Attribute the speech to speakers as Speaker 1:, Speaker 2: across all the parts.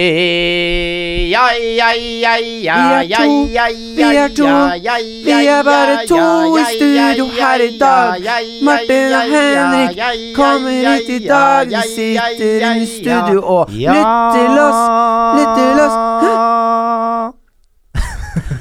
Speaker 1: Eh, Ja, ja, ja, ja,
Speaker 2: Vi er
Speaker 1: ja, ja,
Speaker 2: to. Vi er to.
Speaker 1: ja, ja, ja,
Speaker 2: Vi er bare
Speaker 1: ja, ja,
Speaker 2: to i studio
Speaker 1: ja,
Speaker 2: her i
Speaker 1: ja,
Speaker 2: dag.
Speaker 1: ja, ja,
Speaker 2: Martin og
Speaker 1: ja, ja,
Speaker 2: Henrik
Speaker 1: ja, ja,
Speaker 2: kommer
Speaker 1: ja,
Speaker 2: hit i
Speaker 1: ja,
Speaker 2: dag.
Speaker 1: ja,
Speaker 2: De
Speaker 1: ja, ja,
Speaker 2: sitter i
Speaker 1: ja.
Speaker 2: studio og
Speaker 1: Ja.
Speaker 2: lytter til oss. Lytter til oss.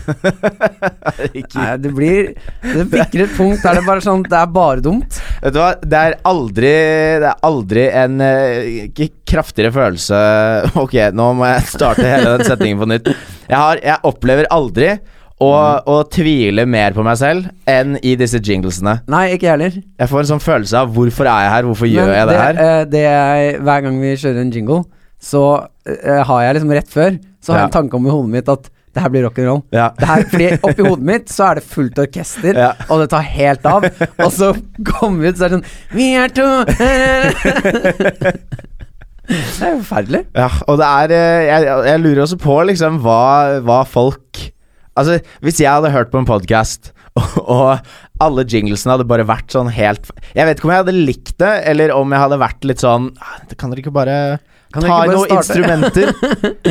Speaker 1: Ikke-
Speaker 2: Nei, det blir Det bikker et punkt der det bare sånn Det er bare dumt.
Speaker 1: Vet du hva, det er aldri Det er aldri en eh, k- kraftigere følelse Ok, nå må jeg starte hele den setningen på nytt Jeg, har, jeg opplever aldri å, å tvile mer på meg selv Enn i disse jinglesene
Speaker 2: Nei, ikke jeg heller.
Speaker 1: Jeg får en sånn følelse av Hvorfor er jeg her, hvorfor
Speaker 2: Men
Speaker 1: gjør jeg det her
Speaker 2: eh, det jeg, hver gang vi kjører en jingle, så eh, har jeg liksom rett før Så har jeg en
Speaker 1: Ja.
Speaker 2: tanke om i hodet mitt at det her blir rock'n'roll.
Speaker 1: Ja.
Speaker 2: Det her- Fordi oppi hodet mitt så er det fullt orkester,
Speaker 1: Ja.
Speaker 2: og det tar helt av. Og så kommer vi ut, så er det sånn Vi er to Det er jo forferdelig.
Speaker 1: Ja, og det er eh, Jeg, jeg lurer også på liksom hva, hva folk Altså, hvis jeg hadde hørt på en podkast, og, og alle jinglesene hadde bare vært sånn helt Jeg vet ikke om jeg hadde likt det, eller om jeg hadde vært litt sånn «Ah, Kan dere ikke bare
Speaker 2: Kan dere
Speaker 1: ta
Speaker 2: ikke
Speaker 1: inn
Speaker 2: bare
Speaker 1: noen
Speaker 2: starte?»
Speaker 1: instrumenter?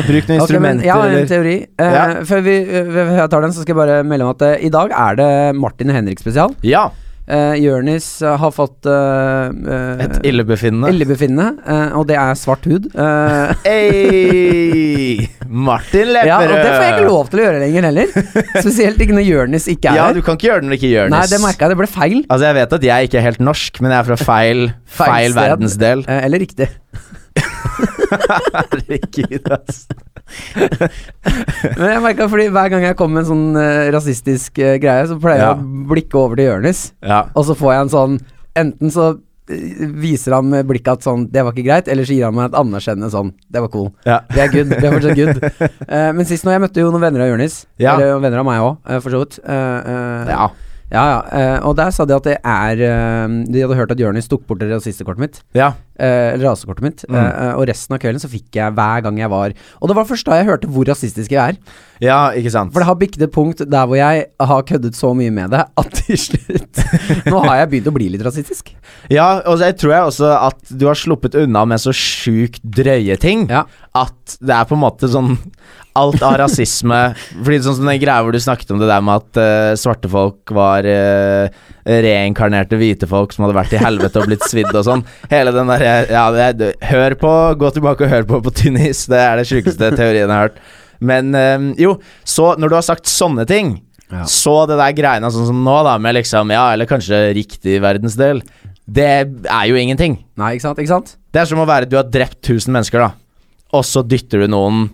Speaker 1: Bruk noen
Speaker 2: Ok, men
Speaker 1: instrumenter,
Speaker 2: jeg har en
Speaker 1: eller
Speaker 2: teori. Eh,
Speaker 1: Ja.
Speaker 2: Før vi, eh, før jeg tar den, så skal jeg bare melde om at eh, i dag er det Martin og Henrik spesial.
Speaker 1: Ja.
Speaker 2: Uh, Jørnis eh, har fått eh, eh,
Speaker 1: Et illebefinnende.
Speaker 2: Ellebefinnende, eh, og det er svart hud. eh.
Speaker 1: Hey, Martin Lepperød!
Speaker 2: ja, og det får jeg ikke lov til å gjøre lenger heller. Spesielt ikke når Jonis ikke
Speaker 1: eh, Ja,
Speaker 2: er
Speaker 1: du
Speaker 2: her.
Speaker 1: kan ikke gjøre det når du ikke gjør det.
Speaker 2: Nei, det merka jeg, det ble feil.
Speaker 1: Altså, jeg vet at jeg ikke er helt norsk, men jeg er fra feil, feil,
Speaker 2: Feil sted.
Speaker 1: verdensdel.
Speaker 2: Eh, eller riktig.
Speaker 1: Herregud, ass.
Speaker 2: Men jeg merket fordi hver gang jeg kommer med en sånn eh, rasistisk eh, greie, så pleier
Speaker 1: Ja.
Speaker 2: jeg å blikke over til Jonis,
Speaker 1: Ja.
Speaker 2: og så får jeg en sånn Enten så eh, viser han med blikket at sånn, det var ikke greit, eller så gir han meg et anerkjennende sånn, det var cool.
Speaker 1: Ja.
Speaker 2: Det er good. Det er fortsatt good. Eh, men sist nå, jeg møtte jo noen venner av Jonis.
Speaker 1: Ja.
Speaker 2: Eller noen venner av meg òg, for så vidt. Eh, eh,
Speaker 1: Ja.
Speaker 2: Ja, ja. eh, og der sa de at det er eh, De hadde hørt at Jonis tok bort det rasistekortet mitt.
Speaker 1: ja.
Speaker 2: eh, Eller rasekortet mitt.
Speaker 1: Mm.
Speaker 2: eh, eh, og resten av kvelden så fikk jeg hver gang jeg var Og det var først da jeg hørte hvor rasistisk jeg er.
Speaker 1: Ja, ikke sant.
Speaker 2: For det har bikket et punkt der hvor jeg har køddet så mye med det at til slutt Nå har jeg begynt å bli litt rasistisk.
Speaker 1: Ja, og så jeg tror jeg også at du har sluppet unna med så sjukt drøye ting
Speaker 2: Ja.
Speaker 1: at det er på en måte sånn Alt av rasisme Fordi sånn som den greia hvor du snakket om det der med at eh, svarte folk var eh, reinkarnerte hvite folk som hadde vært i helvete og blitt svidd og sånn. Hele den derre Ja, det, er- hør på, gå tilbake og hør på på tynn is. Det er det sjukeste teorien jeg har hørt. Men eh, jo, så når du har sagt sånne ting,
Speaker 2: Ja.
Speaker 1: så det der greiene sånn som nå, da, med liksom Ja, eller kanskje riktig verdensdel. Det er jo ingenting.
Speaker 2: Nei, ikke sant? Ikke sant?
Speaker 1: Det er som å være Du har drept 1000 mennesker, da. Og så dytter du noen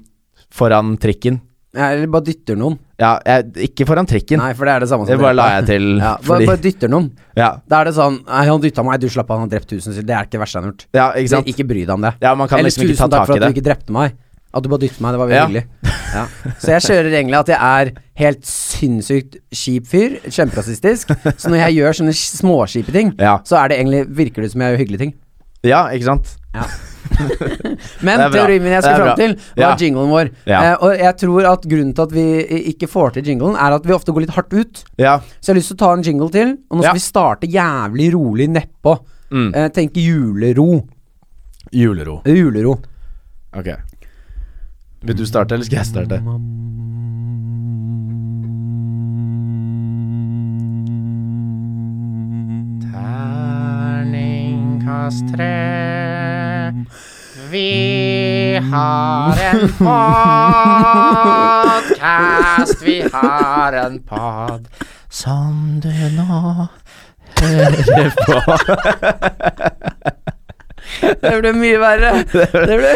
Speaker 1: foran trikken.
Speaker 2: Ja, Eller bare dytter noen.
Speaker 1: Ja, jeg, ikke foran trikken.
Speaker 2: Nei, for det er det samme som
Speaker 1: det bare
Speaker 2: dreper.
Speaker 1: la jeg til.
Speaker 2: ja, bare,
Speaker 1: fordi,
Speaker 2: bare dytter noen.
Speaker 1: ja,
Speaker 2: Da er det sånn Nei, han dytta meg, du slapp av, han har drept 1000, det er ikke det verste han har gjort.
Speaker 1: ja, ikke sant?
Speaker 2: Ikke bry deg om det.
Speaker 1: Ja, man kan
Speaker 2: Eller
Speaker 1: liksom ikke ta
Speaker 2: tusen takk
Speaker 1: tak i
Speaker 2: for at du
Speaker 1: det.
Speaker 2: ikke drepte meg. At du bare dyttet meg, det var veldig
Speaker 1: Ja.
Speaker 2: hyggelig. Ja. Så jeg kjører egentlig at jeg er helt sinnssykt kjip fyr, kjemperasistisk. Så når jeg gjør sånne småskipe ting,
Speaker 1: Ja.
Speaker 2: så er det egentlig, virker det som jeg gjør hyggelige ting.
Speaker 1: Ja, ikke sant?
Speaker 2: Men
Speaker 1: Det er bra.
Speaker 2: teorien min jeg
Speaker 1: Det
Speaker 2: skal
Speaker 1: er
Speaker 2: fram
Speaker 1: bra.
Speaker 2: til, var
Speaker 1: Ja.
Speaker 2: jinglen vår.
Speaker 1: Ja.
Speaker 2: Eh, og jeg tror at grunnen til at vi i- ikke får til jinglen, er at vi ofte går litt hardt ut.
Speaker 1: Ja.
Speaker 2: Så jeg har lyst til å ta en jingle til, og nå skal
Speaker 1: Ja.
Speaker 2: vi starte jævlig rolig nedpå.
Speaker 1: Mm.
Speaker 2: Eh, tenke julero.
Speaker 1: Julero.
Speaker 2: Julero.
Speaker 1: Ok. Vil du starte, eller skal jeg starte? Terningkast tre. Vi har en podkast, vi har en pod som du nå hører på.
Speaker 2: Det ble mye verre.
Speaker 1: Det ble
Speaker 2: Det ble, mye verre.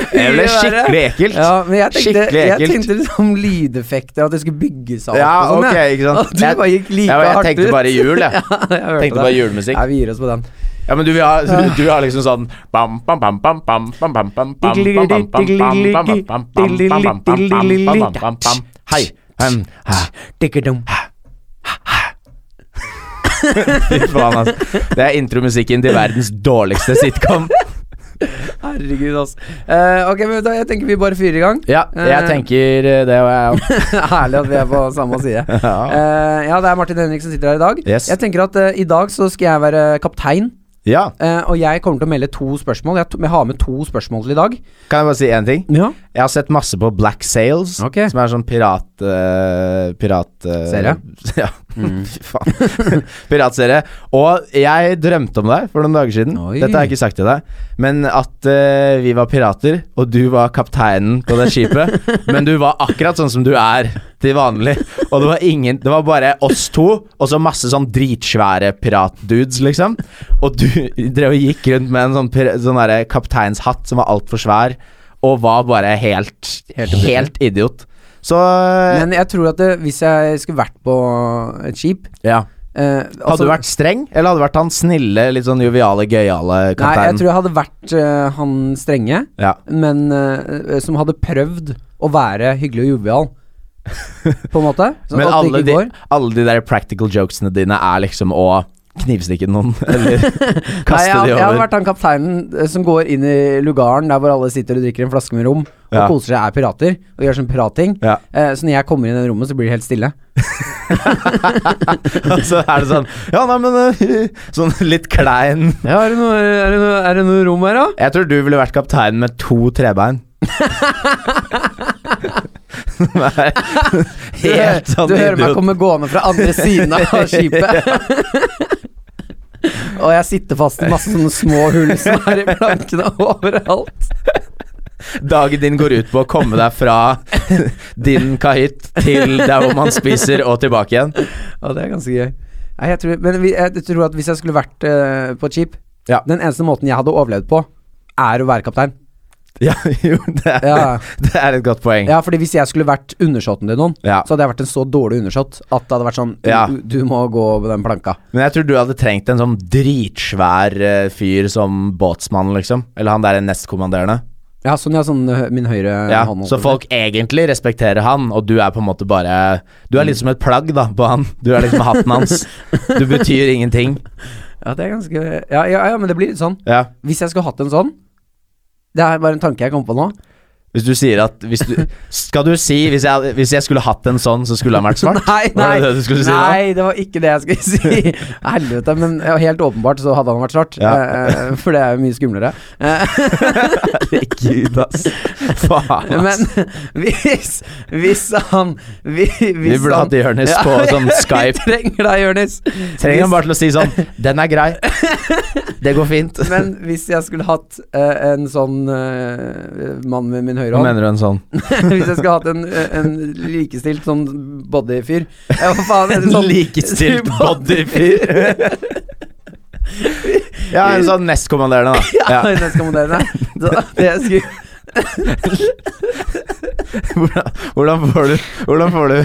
Speaker 1: skikkelig ekkelt.
Speaker 2: Ja, men jeg tenkte,
Speaker 1: Skikkelig
Speaker 2: jeg
Speaker 1: ekkelt.
Speaker 2: tenkte liksom lydeffekter, at det skulle bygge seg opp
Speaker 1: Ja,
Speaker 2: og sånn.
Speaker 1: ok,
Speaker 2: jeg.
Speaker 1: ikke sant.
Speaker 2: Og du
Speaker 1: Jeg-
Speaker 2: bare gikk like
Speaker 1: jeg, jeg
Speaker 2: hardt ut.
Speaker 1: tenkte bare jul, jeg.
Speaker 2: Ja, jeg hørte
Speaker 1: Tenkte
Speaker 2: det.
Speaker 1: bare julemusikk.
Speaker 2: Nei, vi gir oss på den.
Speaker 1: Ja, men du vil ha, du vil ha liksom sånn bam, bam, bam, bam, bam, bam, bam, bam, bam, bam, bam, bam, bam, bam, bam, bam, bam, bam, bam, bam, bam. Hei. Hem. Hæ.
Speaker 2: Dikkerdum.
Speaker 1: Fy faen, altså. Det er intromusikken til verdens dårligste sitcom.
Speaker 2: Herregud, altså. Eh, ok, men da, jeg tenker vi bare fyrer i gang.
Speaker 1: Ja, jeg tenker eh, det var jeg òg.
Speaker 2: Herlig at vi er på samme side.
Speaker 1: Ja.
Speaker 2: Eh, ja, det er Martin Henrik som sitter her i dag.
Speaker 1: Yes.
Speaker 2: Jeg tenker at eh, i dag så skal jeg være kaptein
Speaker 1: Ja.
Speaker 2: Eh, og jeg kommer til å melde to spørsmål. Jeg, to, jeg har med to spørsmål til i dag.
Speaker 1: Kan jeg bare si én ting? Jeg har sett masse på Black Sails,
Speaker 2: Ok.
Speaker 1: som er sånn pirat... eh, pirat... eh,
Speaker 2: Serie?
Speaker 1: Ja. Fy faen. Piratserie. Og jeg drømte om deg for noen dager siden.
Speaker 2: Oi.
Speaker 1: Dette har jeg ikke sagt til deg. Men at eh, vi var pirater, og du var kapteinen på det skipet. men du var akkurat sånn som du er til vanlig. Og det var ingen Det var bare oss to, og så masse sånn dritsvære piratdudes, liksom. Og du drev og gikk rundt med en sånn, pir- sånn derre kapteinshatt som var altfor svær, og var bare helt
Speaker 2: Helt
Speaker 1: Helt,
Speaker 2: ubrukelig.
Speaker 1: idiot. Så Eh.
Speaker 2: Men jeg tror at det, hvis jeg skulle vært på et skip
Speaker 1: ja.
Speaker 2: eh,
Speaker 1: Hadde
Speaker 2: altså-
Speaker 1: du vært streng, eller hadde du vært han snille, litt sånn joviale, gøyale
Speaker 2: Nei, jeg
Speaker 1: kapteinen?
Speaker 2: tror jeg hadde vært eh, han strenge,
Speaker 1: Ja.
Speaker 2: men eh, som hadde prøvd å være hyggelig og jovial. På en måte. Sånn
Speaker 1: Men
Speaker 2: at
Speaker 1: alle
Speaker 2: det
Speaker 1: de,
Speaker 2: ikke går.
Speaker 1: alle de der practical jokesene dine er liksom å knivstikke noen, eller
Speaker 2: Nei,
Speaker 1: kaste
Speaker 2: jeg,
Speaker 1: de
Speaker 2: jeg hadde
Speaker 1: over.
Speaker 2: vært han kapteinen eh, som går inn i lugaren der hvor alle sitter og drikker en flaske med rom og
Speaker 1: Ja.
Speaker 2: koser seg, er pirater og gjør sånn piratting.
Speaker 1: Ja.
Speaker 2: Eh, så når jeg kommer inn i det rommet, så blir det helt stille.
Speaker 1: Og så er det sånn Ja, nei, men eh, Sånn litt klein
Speaker 2: Ja, er det noe, er det noe, er det noe rom her, da?
Speaker 1: Jeg tror du ville vært kapteinen med to trebein. Nei, helt sånn
Speaker 2: du hører meg
Speaker 1: idiot.
Speaker 2: komme gående fra andre siden av skipet. Og jeg sitter fast i masse sånne små hull som er i plankene overalt.
Speaker 1: Dagen din går ut på å komme deg fra din kahytt til der hvor man spiser, og tilbake igjen.
Speaker 2: Ja, det er ganske gøy. Nei, jeg tror, men vi- jeg tror at hvis jeg skulle vært eh, på et skip
Speaker 1: Ja.
Speaker 2: Den eneste måten jeg hadde overlevd på, er å være kaptein.
Speaker 1: Ja, jo, det er,
Speaker 2: Ja,
Speaker 1: det er et godt poeng.
Speaker 2: ja fordi hvis jeg skulle vært undersåtten til noen,
Speaker 1: Ja.
Speaker 2: så hadde jeg vært en så dårlig undersått at det hadde vært sånn
Speaker 1: Ja.
Speaker 2: du, du må gå på den planka.
Speaker 1: Men jeg tror du hadde trengt en sånn dritsvær eh, fyr som båtsmann, liksom. Eller han der nestkommanderende.
Speaker 2: Ja, sånn ja, sånn eh, min høyre
Speaker 1: Ja,
Speaker 2: hånd.
Speaker 1: så folk egentlig respekterer han, og du er på en måte bare Du er litt som et plagg, da, på han. Du er liksom hatten hans. Du betyr ingenting.
Speaker 2: Ja, det er ganske Ja, ja, ja men det blir litt sånn.
Speaker 1: Ja.
Speaker 2: Hvis jeg skulle hatt en sånn Det er bare en tanke jeg kom på nå.
Speaker 1: Hvis du sier at hvis du, Skal du si hvis jeg, hvis jeg skulle hatt en sånn, så skulle han vært svart?
Speaker 2: Nei,
Speaker 1: Var det
Speaker 2: nei,
Speaker 1: det du skulle si nå?
Speaker 2: nei, det var ikke det jeg skulle si. Helvete, men ja, helt åpenbart så hadde han vært svart.
Speaker 1: Ja.
Speaker 2: eh, for det er jo mye skumlere. Eh,
Speaker 1: Herregud, ass. Faen, ass.
Speaker 2: men hvis, hvis han vi, hvis
Speaker 1: Vi burde
Speaker 2: han-
Speaker 1: hatt Jonis på
Speaker 2: Ja,
Speaker 1: sånn Skype.
Speaker 2: Vi trenger deg, Jonis.
Speaker 1: Trenger han bare til å si sånn Den er grei. Det går fint.
Speaker 2: Men hvis jeg skulle hatt eh, en sånn eh, mann med min høyre
Speaker 1: Hva
Speaker 2: hånd
Speaker 1: mener du en sånn?
Speaker 2: Hvis jeg skulle hatt en, en likestilt sånn bodyfyr Ja, hva faen er det sånn?
Speaker 1: likestilt bodyfyr. ja, en sånn nestkommanderende, da.
Speaker 2: Ja,
Speaker 1: Ja.
Speaker 2: den skal moderne Så det skulle
Speaker 1: Hvordan, hvordan får du Hvordan får du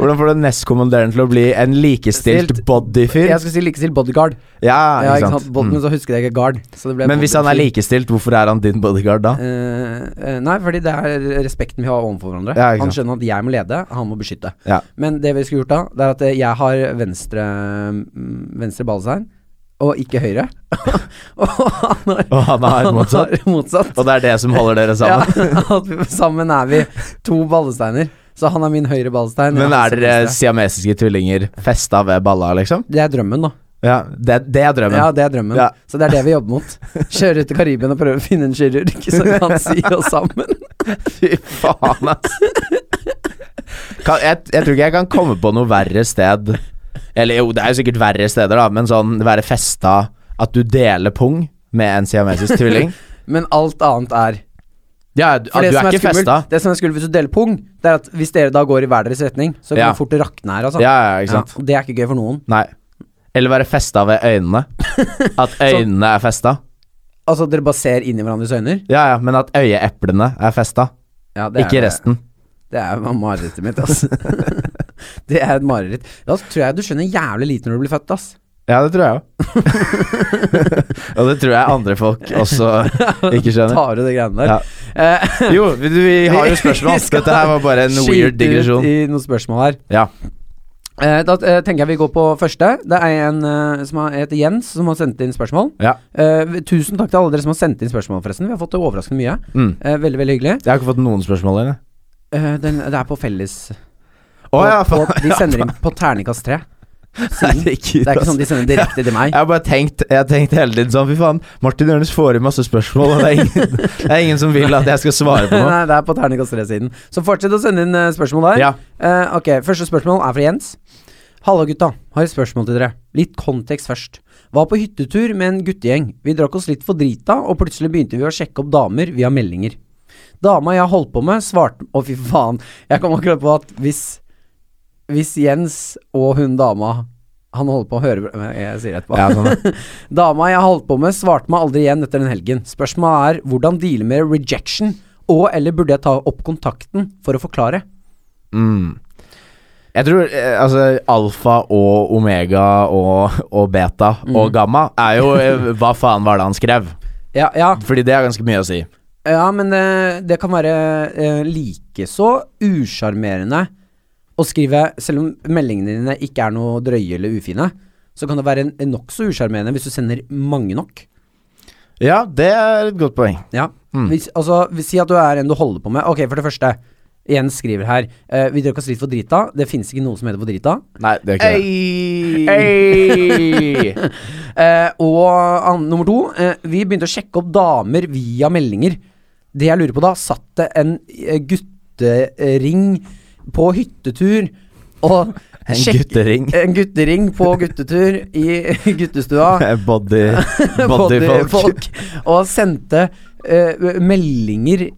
Speaker 1: Hvordan får du nestkommanderende til å bli en likestilt
Speaker 2: Stilt.
Speaker 1: bodyfyr?
Speaker 2: Jeg skulle si likestilt bodyguard
Speaker 1: Ja,
Speaker 2: Ja,
Speaker 1: ikke sant.
Speaker 2: Bod- Men
Speaker 1: Mm.
Speaker 2: så husker jeg ikke guard så det ble
Speaker 1: Men hvis han er
Speaker 2: bodyfyr.
Speaker 1: likestilt, hvorfor er han din bodyguard da?
Speaker 2: Eh, eh, Nei, fordi det er respekten vi har overfor hverandre
Speaker 1: Ja, ikke
Speaker 2: Han
Speaker 1: sant.
Speaker 2: skjønner at jeg må lede, han må beskytte
Speaker 1: Ja.
Speaker 2: Men det vi skulle gjort da Det er at eh, jeg har venstre mm, Venstre ballesegn Og ikke høyre Og han har,
Speaker 1: Og han har
Speaker 2: han
Speaker 1: motsatt.
Speaker 2: har motsatt
Speaker 1: Og det er det som holder dere sammen?
Speaker 2: Ja, at vi, sammen er vi to ballesteiner. Så han er min høyre ballestein.
Speaker 1: Men
Speaker 2: jeg
Speaker 1: er
Speaker 2: hans
Speaker 1: dere
Speaker 2: venstre.
Speaker 1: siamesiske tvillinger festa ved balla, liksom?
Speaker 2: Det er drømmen, da.
Speaker 1: Ja, det, det er drømmen.
Speaker 2: Ja, det er drømmen.
Speaker 1: Ja.
Speaker 2: Så det er det vi jobber mot. Kjøre ut til Karibien og prøve å finne en kirurg som kan sy oss sammen.
Speaker 1: Fy faen, ass. Kan, jeg, jeg tror ikke jeg kan komme på noe verre sted Eller jo, det er jo sikkert verre steder, da, men sånn være festa At du deler pung med en siamesisk tvilling.
Speaker 2: Men alt annet er
Speaker 1: Ja, du,
Speaker 2: For
Speaker 1: du
Speaker 2: det,
Speaker 1: er
Speaker 2: som er
Speaker 1: ikke
Speaker 2: skummelt,
Speaker 1: festa.
Speaker 2: det som er skummelt hvis du deler pung, det er at hvis dere da går i hver deres retning, så kan
Speaker 1: Ja.
Speaker 2: det fort rakne her, altså.
Speaker 1: Ja, ja, ikke sant.
Speaker 2: Ja, og det er ikke gøy for noen.
Speaker 1: Nei. Eller være festa ved øynene. At øynene er festa.
Speaker 2: Altså, dere bare ser inn i hverandres øyne.
Speaker 1: Ja, ja, men at øyeeplene er festa.
Speaker 2: Ja, det er
Speaker 1: Ikke
Speaker 2: det.
Speaker 1: resten.
Speaker 2: Det er jo marerittet mitt, ass. det er et mareritt. Da tror jeg du skjønner jævlig lite når du blir født, ass.
Speaker 1: Ja, det tror jeg òg. Og det tror jeg andre folk også ikke skjønner.
Speaker 2: Tar du de greiene der?
Speaker 1: Ja.
Speaker 2: Eh,
Speaker 1: Jo, vi, vi har jo spørsmål.
Speaker 2: Vi skal
Speaker 1: Dette her var bare en weird
Speaker 2: skyter
Speaker 1: digresjon.
Speaker 2: ut i noen spørsmål her.
Speaker 1: Ja.
Speaker 2: Eh, da eh, tenker jeg vi går på første. Det er en eh, som har- heter Jens, som har sendt inn spørsmål.
Speaker 1: ja.
Speaker 2: Eh, vi- tusen takk til alle dere som har sendt inn spørsmål, forresten. Vi har fått det overraskende mye.
Speaker 1: Mm.
Speaker 2: Eh, veldig, veldig hyggelig.
Speaker 1: Jeg har ikke fått noen spørsmål ennå.
Speaker 2: Eh, den, det er på felles.
Speaker 1: Å
Speaker 2: På-
Speaker 1: ja,
Speaker 2: på,
Speaker 1: faen.
Speaker 2: de sender inn på terningkast tre. siden. Det er ikke sånn de sender direkte til meg.
Speaker 1: Jeg har bare tenkt, jeg har tenkt hele tiden sånn Fy faen, Martin Jørnes får inn masse spørsmål, og det er, ingen, det er ingen som vil at jeg skal svare på noe.
Speaker 2: Nei, det er på terningkast tre-siden. Så fortsett å sende inn eh, spørsmål der.
Speaker 1: Ja,
Speaker 2: Eh, ok, Første spørsmål er fra Jens. Hallo, gutta. Har et spørsmål til dere. Litt kontekst først. Var på hyttetur med en guttegjeng. Vi drakk oss litt for drita, og plutselig begynte vi å sjekke opp damer via meldinger. Dama jeg holdt på med, svarte Å, fy faen. Jeg kom akkurat på at hvis Hvis Jens og hun dama han holder på å høre Men Jeg sier det etterpå.
Speaker 1: ja sånn, ja.
Speaker 2: Dama jeg holdt på med, svarte meg aldri igjen etter den helgen. Spørsmålet er hvordan deale med rejection, og eller burde jeg ta opp kontakten for å forklare?
Speaker 1: Mm. Jeg tror eh, altså, alfa og omega og, og beta
Speaker 2: Mm.
Speaker 1: og gamma er jo eh, Hva faen var det han skrev?
Speaker 2: Ja, ja,
Speaker 1: Fordi det har ganske mye å si.
Speaker 2: ja men eh, det kan være eh, likeså usjarmerende å skrive Selv om meldingene dine ikke er noe drøye eller ufine, så kan det være en- en nokså usjarmerende hvis du sender mange nok.
Speaker 1: Ja, det er et godt poeng.
Speaker 2: Ja.
Speaker 1: Mm.
Speaker 2: Hvis, altså, hvis- si at du er en du holder på med. Ok, for det første. Jens skriver her eh, Vi drakk oss litt for drita. Det finnes ikke noe som heter for drita.
Speaker 1: Nei, det er ikke det.
Speaker 2: Ei. Eh, og an, nummer to, eh, vi begynte å sjekke opp damer via meldinger. Det jeg lurer på da, satt det en eh, guttering på hyttetur og
Speaker 1: En
Speaker 2: sjekk-
Speaker 1: guttering.
Speaker 2: En guttering på guttetur i guttestua.
Speaker 1: Body,
Speaker 2: Både
Speaker 1: bodyfolk.
Speaker 2: folk, og sendte eh, meldinger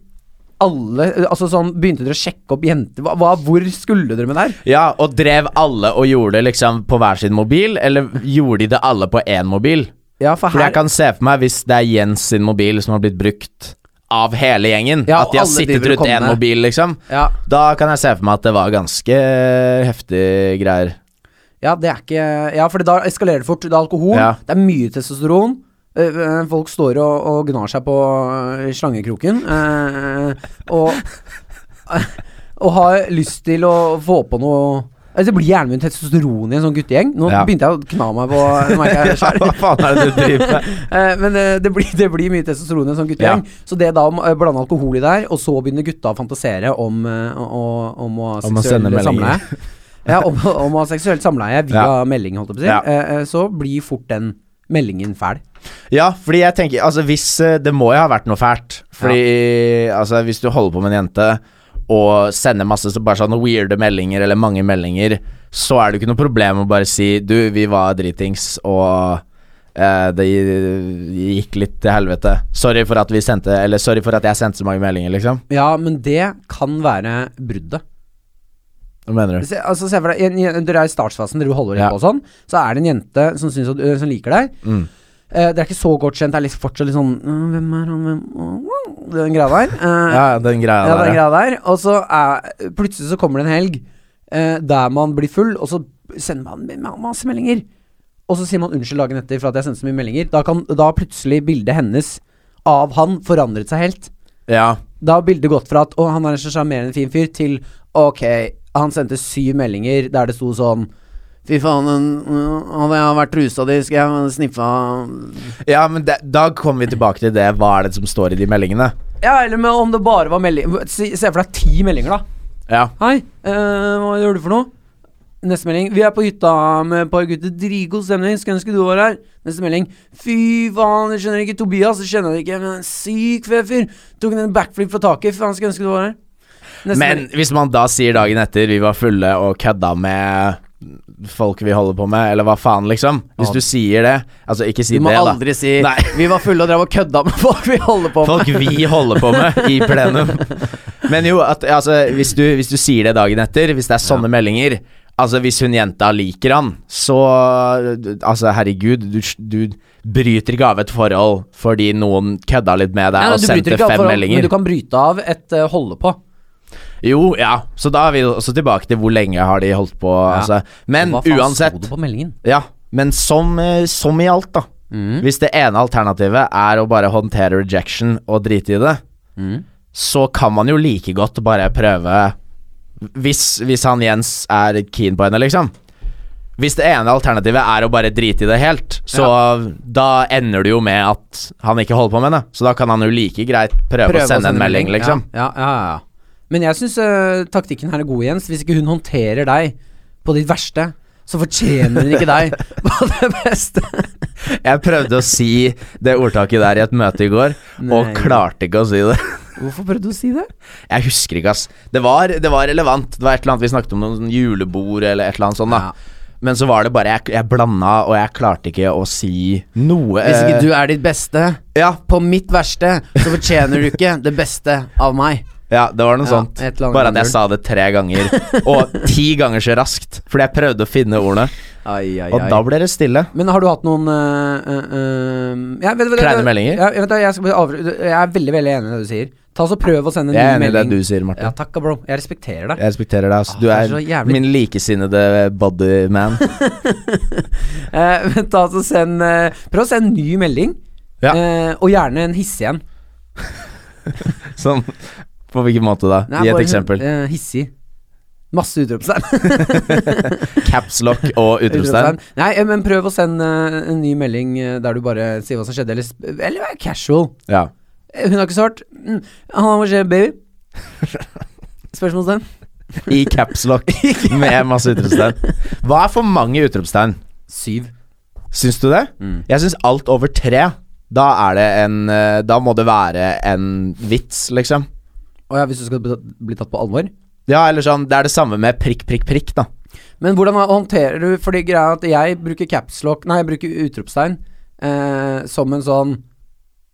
Speaker 2: alle Altså sånn, begynte dere å sjekke opp jenter? Hva, hva, hvor skulle dere med det her?
Speaker 1: Ja, og drev alle og gjorde det liksom på hver sin mobil, eller gjorde de det alle på én mobil?
Speaker 2: Ja, for
Speaker 1: For jeg
Speaker 2: her
Speaker 1: kan se for meg hvis det er Jens sin mobil som har blitt brukt av hele gjengen,
Speaker 2: Ja,
Speaker 1: at de har
Speaker 2: alle
Speaker 1: sittet
Speaker 2: driver og
Speaker 1: rundt én
Speaker 2: kommer.
Speaker 1: mobil, liksom.
Speaker 2: ja.
Speaker 1: Da kan jeg se for meg at det var ganske heftige greier.
Speaker 2: Ja, det er ikke Ja, for da eskalerer det fort. Det er alkohol,
Speaker 1: Ja.
Speaker 2: det er mye testosteron. øh, øh, Folk står og, og gnar seg på øh, slangekroken. øh, og Og har lyst til å få på noe Altså, Det blir gjerne mye testosteron i en sånn guttegjeng. Nå
Speaker 1: Ja.
Speaker 2: begynte jeg å kna meg på nå merker jeg selv.
Speaker 1: Hva faen er det du driver med?
Speaker 2: Eh, Men eh, det blir, det blir mye testosteron i en sånn guttegjeng. Så det da å eh, blande alkohol i der, og så begynner gutta å fantasere om, eh, å- om å
Speaker 1: Om å
Speaker 2: ha
Speaker 1: sende
Speaker 2: seksuelt
Speaker 1: meldinger.
Speaker 2: samleie. Ja, om, om å ha seksuelt samleie via
Speaker 1: Ja.
Speaker 2: melding, holdt jeg på å si.
Speaker 1: Ja.
Speaker 2: Eh, eh, Så blir fort den meldingen fæl.
Speaker 1: Ja, fordi jeg tenker Altså, hvis eh, Det må jo ha vært noe fælt. Fordi altså, hvis du holder på med en jente og sender masse så bare sånne weirde meldinger eller mange meldinger, så er det jo ikke noe problem å bare si Du, vi var dritings, og eh, det gi- gikk litt til helvete. Sorry for at vi sendte Eller sorry for at jeg sendte så mange meldinger, liksom.
Speaker 2: Ja, men det kan være bruddet.
Speaker 1: Hva mener du?
Speaker 2: Se, altså, se for deg, en, en, dere er i startfasen, dere holder litt
Speaker 1: Ja.
Speaker 2: på og sånn. Så er det en jente som, syns at, øh, som liker deg.
Speaker 1: Mm.
Speaker 2: Eh, dere er ikke så godt kjent, det er litt, fortsatt litt sånn «Øh, Hvem er han, hvem Åh, Den greia der. Eh,
Speaker 1: Ja, den greia
Speaker 2: Ja,
Speaker 1: der.
Speaker 2: den
Speaker 1: ja.
Speaker 2: greia der. Og så er, plutselig så kommer det en helg eh, der man blir full, og så sender man me- ma- masse meldinger. Og så sier man unnskyld dagen etter for at jeg sendte så mye meldinger. Da kan da har plutselig bildet hennes av han forandret seg helt.
Speaker 1: Ja.
Speaker 2: Da har bildet gått fra at å, han er en så sjarmerende fin fyr, til ok, han sendte syv meldinger der det sto sånn Fy faen, en- hadde jeg vært rusa di, skulle jeg sniffa
Speaker 1: ja, men det, da kommer vi tilbake til det. Hva er det som står i de meldingene?
Speaker 2: Ja, eller med, om det bare var meldinger Se se for deg ti meldinger, da.
Speaker 1: Ja.
Speaker 2: Hei, eh, hva gjør du for noe? Neste melding. Vi er på hytta med et par gutter. Dritgod stemning. Skulle ønske du var her. Neste melding. Fy faen, jeg skjønner ikke Tobias. Jeg skjønner det ikke, men en syk fet fyr. Tok en backflip fra taket. Fy faen, skulle ønske du var her. Neste
Speaker 1: Men
Speaker 2: melding.
Speaker 1: hvis man da sier dagen etter vi var fulle og kødda med folk vi holder på med, eller hva faen, liksom. Hvis du sier det Altså, ikke si
Speaker 2: Du må
Speaker 1: det, da.
Speaker 2: aldri si
Speaker 1: Nei.
Speaker 2: Vi var fulle og drev og kødda med folk vi holder på med.
Speaker 1: Folk vi holder på med i plenum. Men jo, at, altså, hvis, du, hvis du sier det dagen etter, hvis det er sånne meldinger Altså, hvis hun jenta liker han, så Altså, herregud, du, du bryter ikke av et forhold fordi noen kødda litt med deg
Speaker 2: Nei, nei,
Speaker 1: og
Speaker 2: du bryter
Speaker 1: sendte
Speaker 2: ikke av
Speaker 1: fem
Speaker 2: forhold,
Speaker 1: meldinger.
Speaker 2: Men du kan bryte av et eh, holde på.
Speaker 1: Jo, ja. Så da er vi også tilbake til hvor lenge har de holdt på. Altså. Men
Speaker 2: Hva faen
Speaker 1: uansett
Speaker 2: sto det på meldingen?
Speaker 1: Ja, men som, eh, som i alt, da. Hvis det ene alternativet er å bare håndtere rejection og drite i det, så kan man jo like godt bare prøve Hvis, hvis han Jens er keen på henne, liksom. Hvis det ene alternativet er å bare drite i det helt, så da ender det jo med at han ikke holder på med henne. Så da kan han jo like greit prøve, å sende en melding, liksom.
Speaker 2: Ja, ja, ja, eh, ja. Men jeg syns taktikken her er god, Jens. Hvis ikke hun håndterer deg på ditt verste, så fortjener hun ikke deg på det beste.
Speaker 1: Jeg prøvde å si det ordtaket der i et møte i går, og
Speaker 2: Nei.
Speaker 1: klarte ikke å si det.
Speaker 2: Hvorfor prøvde du å si det?
Speaker 1: Jeg husker ikke, ass. Det var, det var relevant. Det var et eller annet Vi snakket om noen sånn julebord eller et eller annet sånt. da
Speaker 2: Ja.
Speaker 1: Men så var det bare Jeg, jeg blanda, og jeg klarte ikke å si noe. eh,
Speaker 2: Hvis ikke du er ditt beste
Speaker 1: Ja,
Speaker 2: på mitt verste, så fortjener du ikke det beste av meg.
Speaker 1: Ja, det var noe
Speaker 2: Ja,
Speaker 1: sånt.
Speaker 2: et eller annet
Speaker 1: Bare at jeg
Speaker 2: gull.
Speaker 1: sa det tre ganger, og ti ganger så raskt. Fordi jeg prøvde å finne ordene,
Speaker 2: Ai, ai,
Speaker 1: og da ble det stille.
Speaker 2: Men har du hatt noen øh, øh, øh, ja, vet, du- vet, du-
Speaker 1: Kleine meldinger?
Speaker 2: Ja, jeg, vet, du, jeg, skal, bare avru- jeg er veldig veldig enig i det du sier. Ta så Prøv å sende en
Speaker 1: Jeg er
Speaker 2: ny
Speaker 1: enig i det
Speaker 2: melding.
Speaker 1: du sier, Martin.
Speaker 2: Ja, takk, bro. Jeg respekterer deg.
Speaker 1: Jeg respekterer deg. ass.
Speaker 2: Åh,
Speaker 1: Du
Speaker 2: det
Speaker 1: er
Speaker 2: er så jævlig-
Speaker 1: min likesinnede bodyman.
Speaker 2: Eh, men ta så send, eh, prøv å sende en ny melding,
Speaker 1: Ja.
Speaker 2: eh, og gjerne en hissig en.
Speaker 1: Sånn på hvilken måte da?
Speaker 2: Nei,
Speaker 1: Gi et
Speaker 2: bare,
Speaker 1: eksempel.
Speaker 2: eh, hissig. Masse utropstegn.
Speaker 1: Caps lock og utropstegn.
Speaker 2: Utropstegn. Nei, eh, men prøv å sende eh, en ny melding eh, der du bare sier hva som skjedde, eller, sp- eller vær casual.
Speaker 1: Ja.
Speaker 2: Eh, Hun har ikke svart. Mm. Han har skjer, baby? Spørsmålstegn.
Speaker 1: I caps lock med masse utropstegn. Hva er for mange utropstegn?
Speaker 2: Syv.
Speaker 1: Syns du det?
Speaker 2: Mm.
Speaker 1: Jeg syns alt over tre. Da er det en eh, Da må det være en vits, liksom.
Speaker 2: Å ja, hvis du skal bli tatt- bli tatt på alvor?
Speaker 1: Ja, eller sånn Det er det samme med prikk, prikk, prikk, da.
Speaker 2: Men hvordan håndterer du Fordi greia er at jeg bruker capslock Nei, jeg bruker utropstegn eh, som en sånn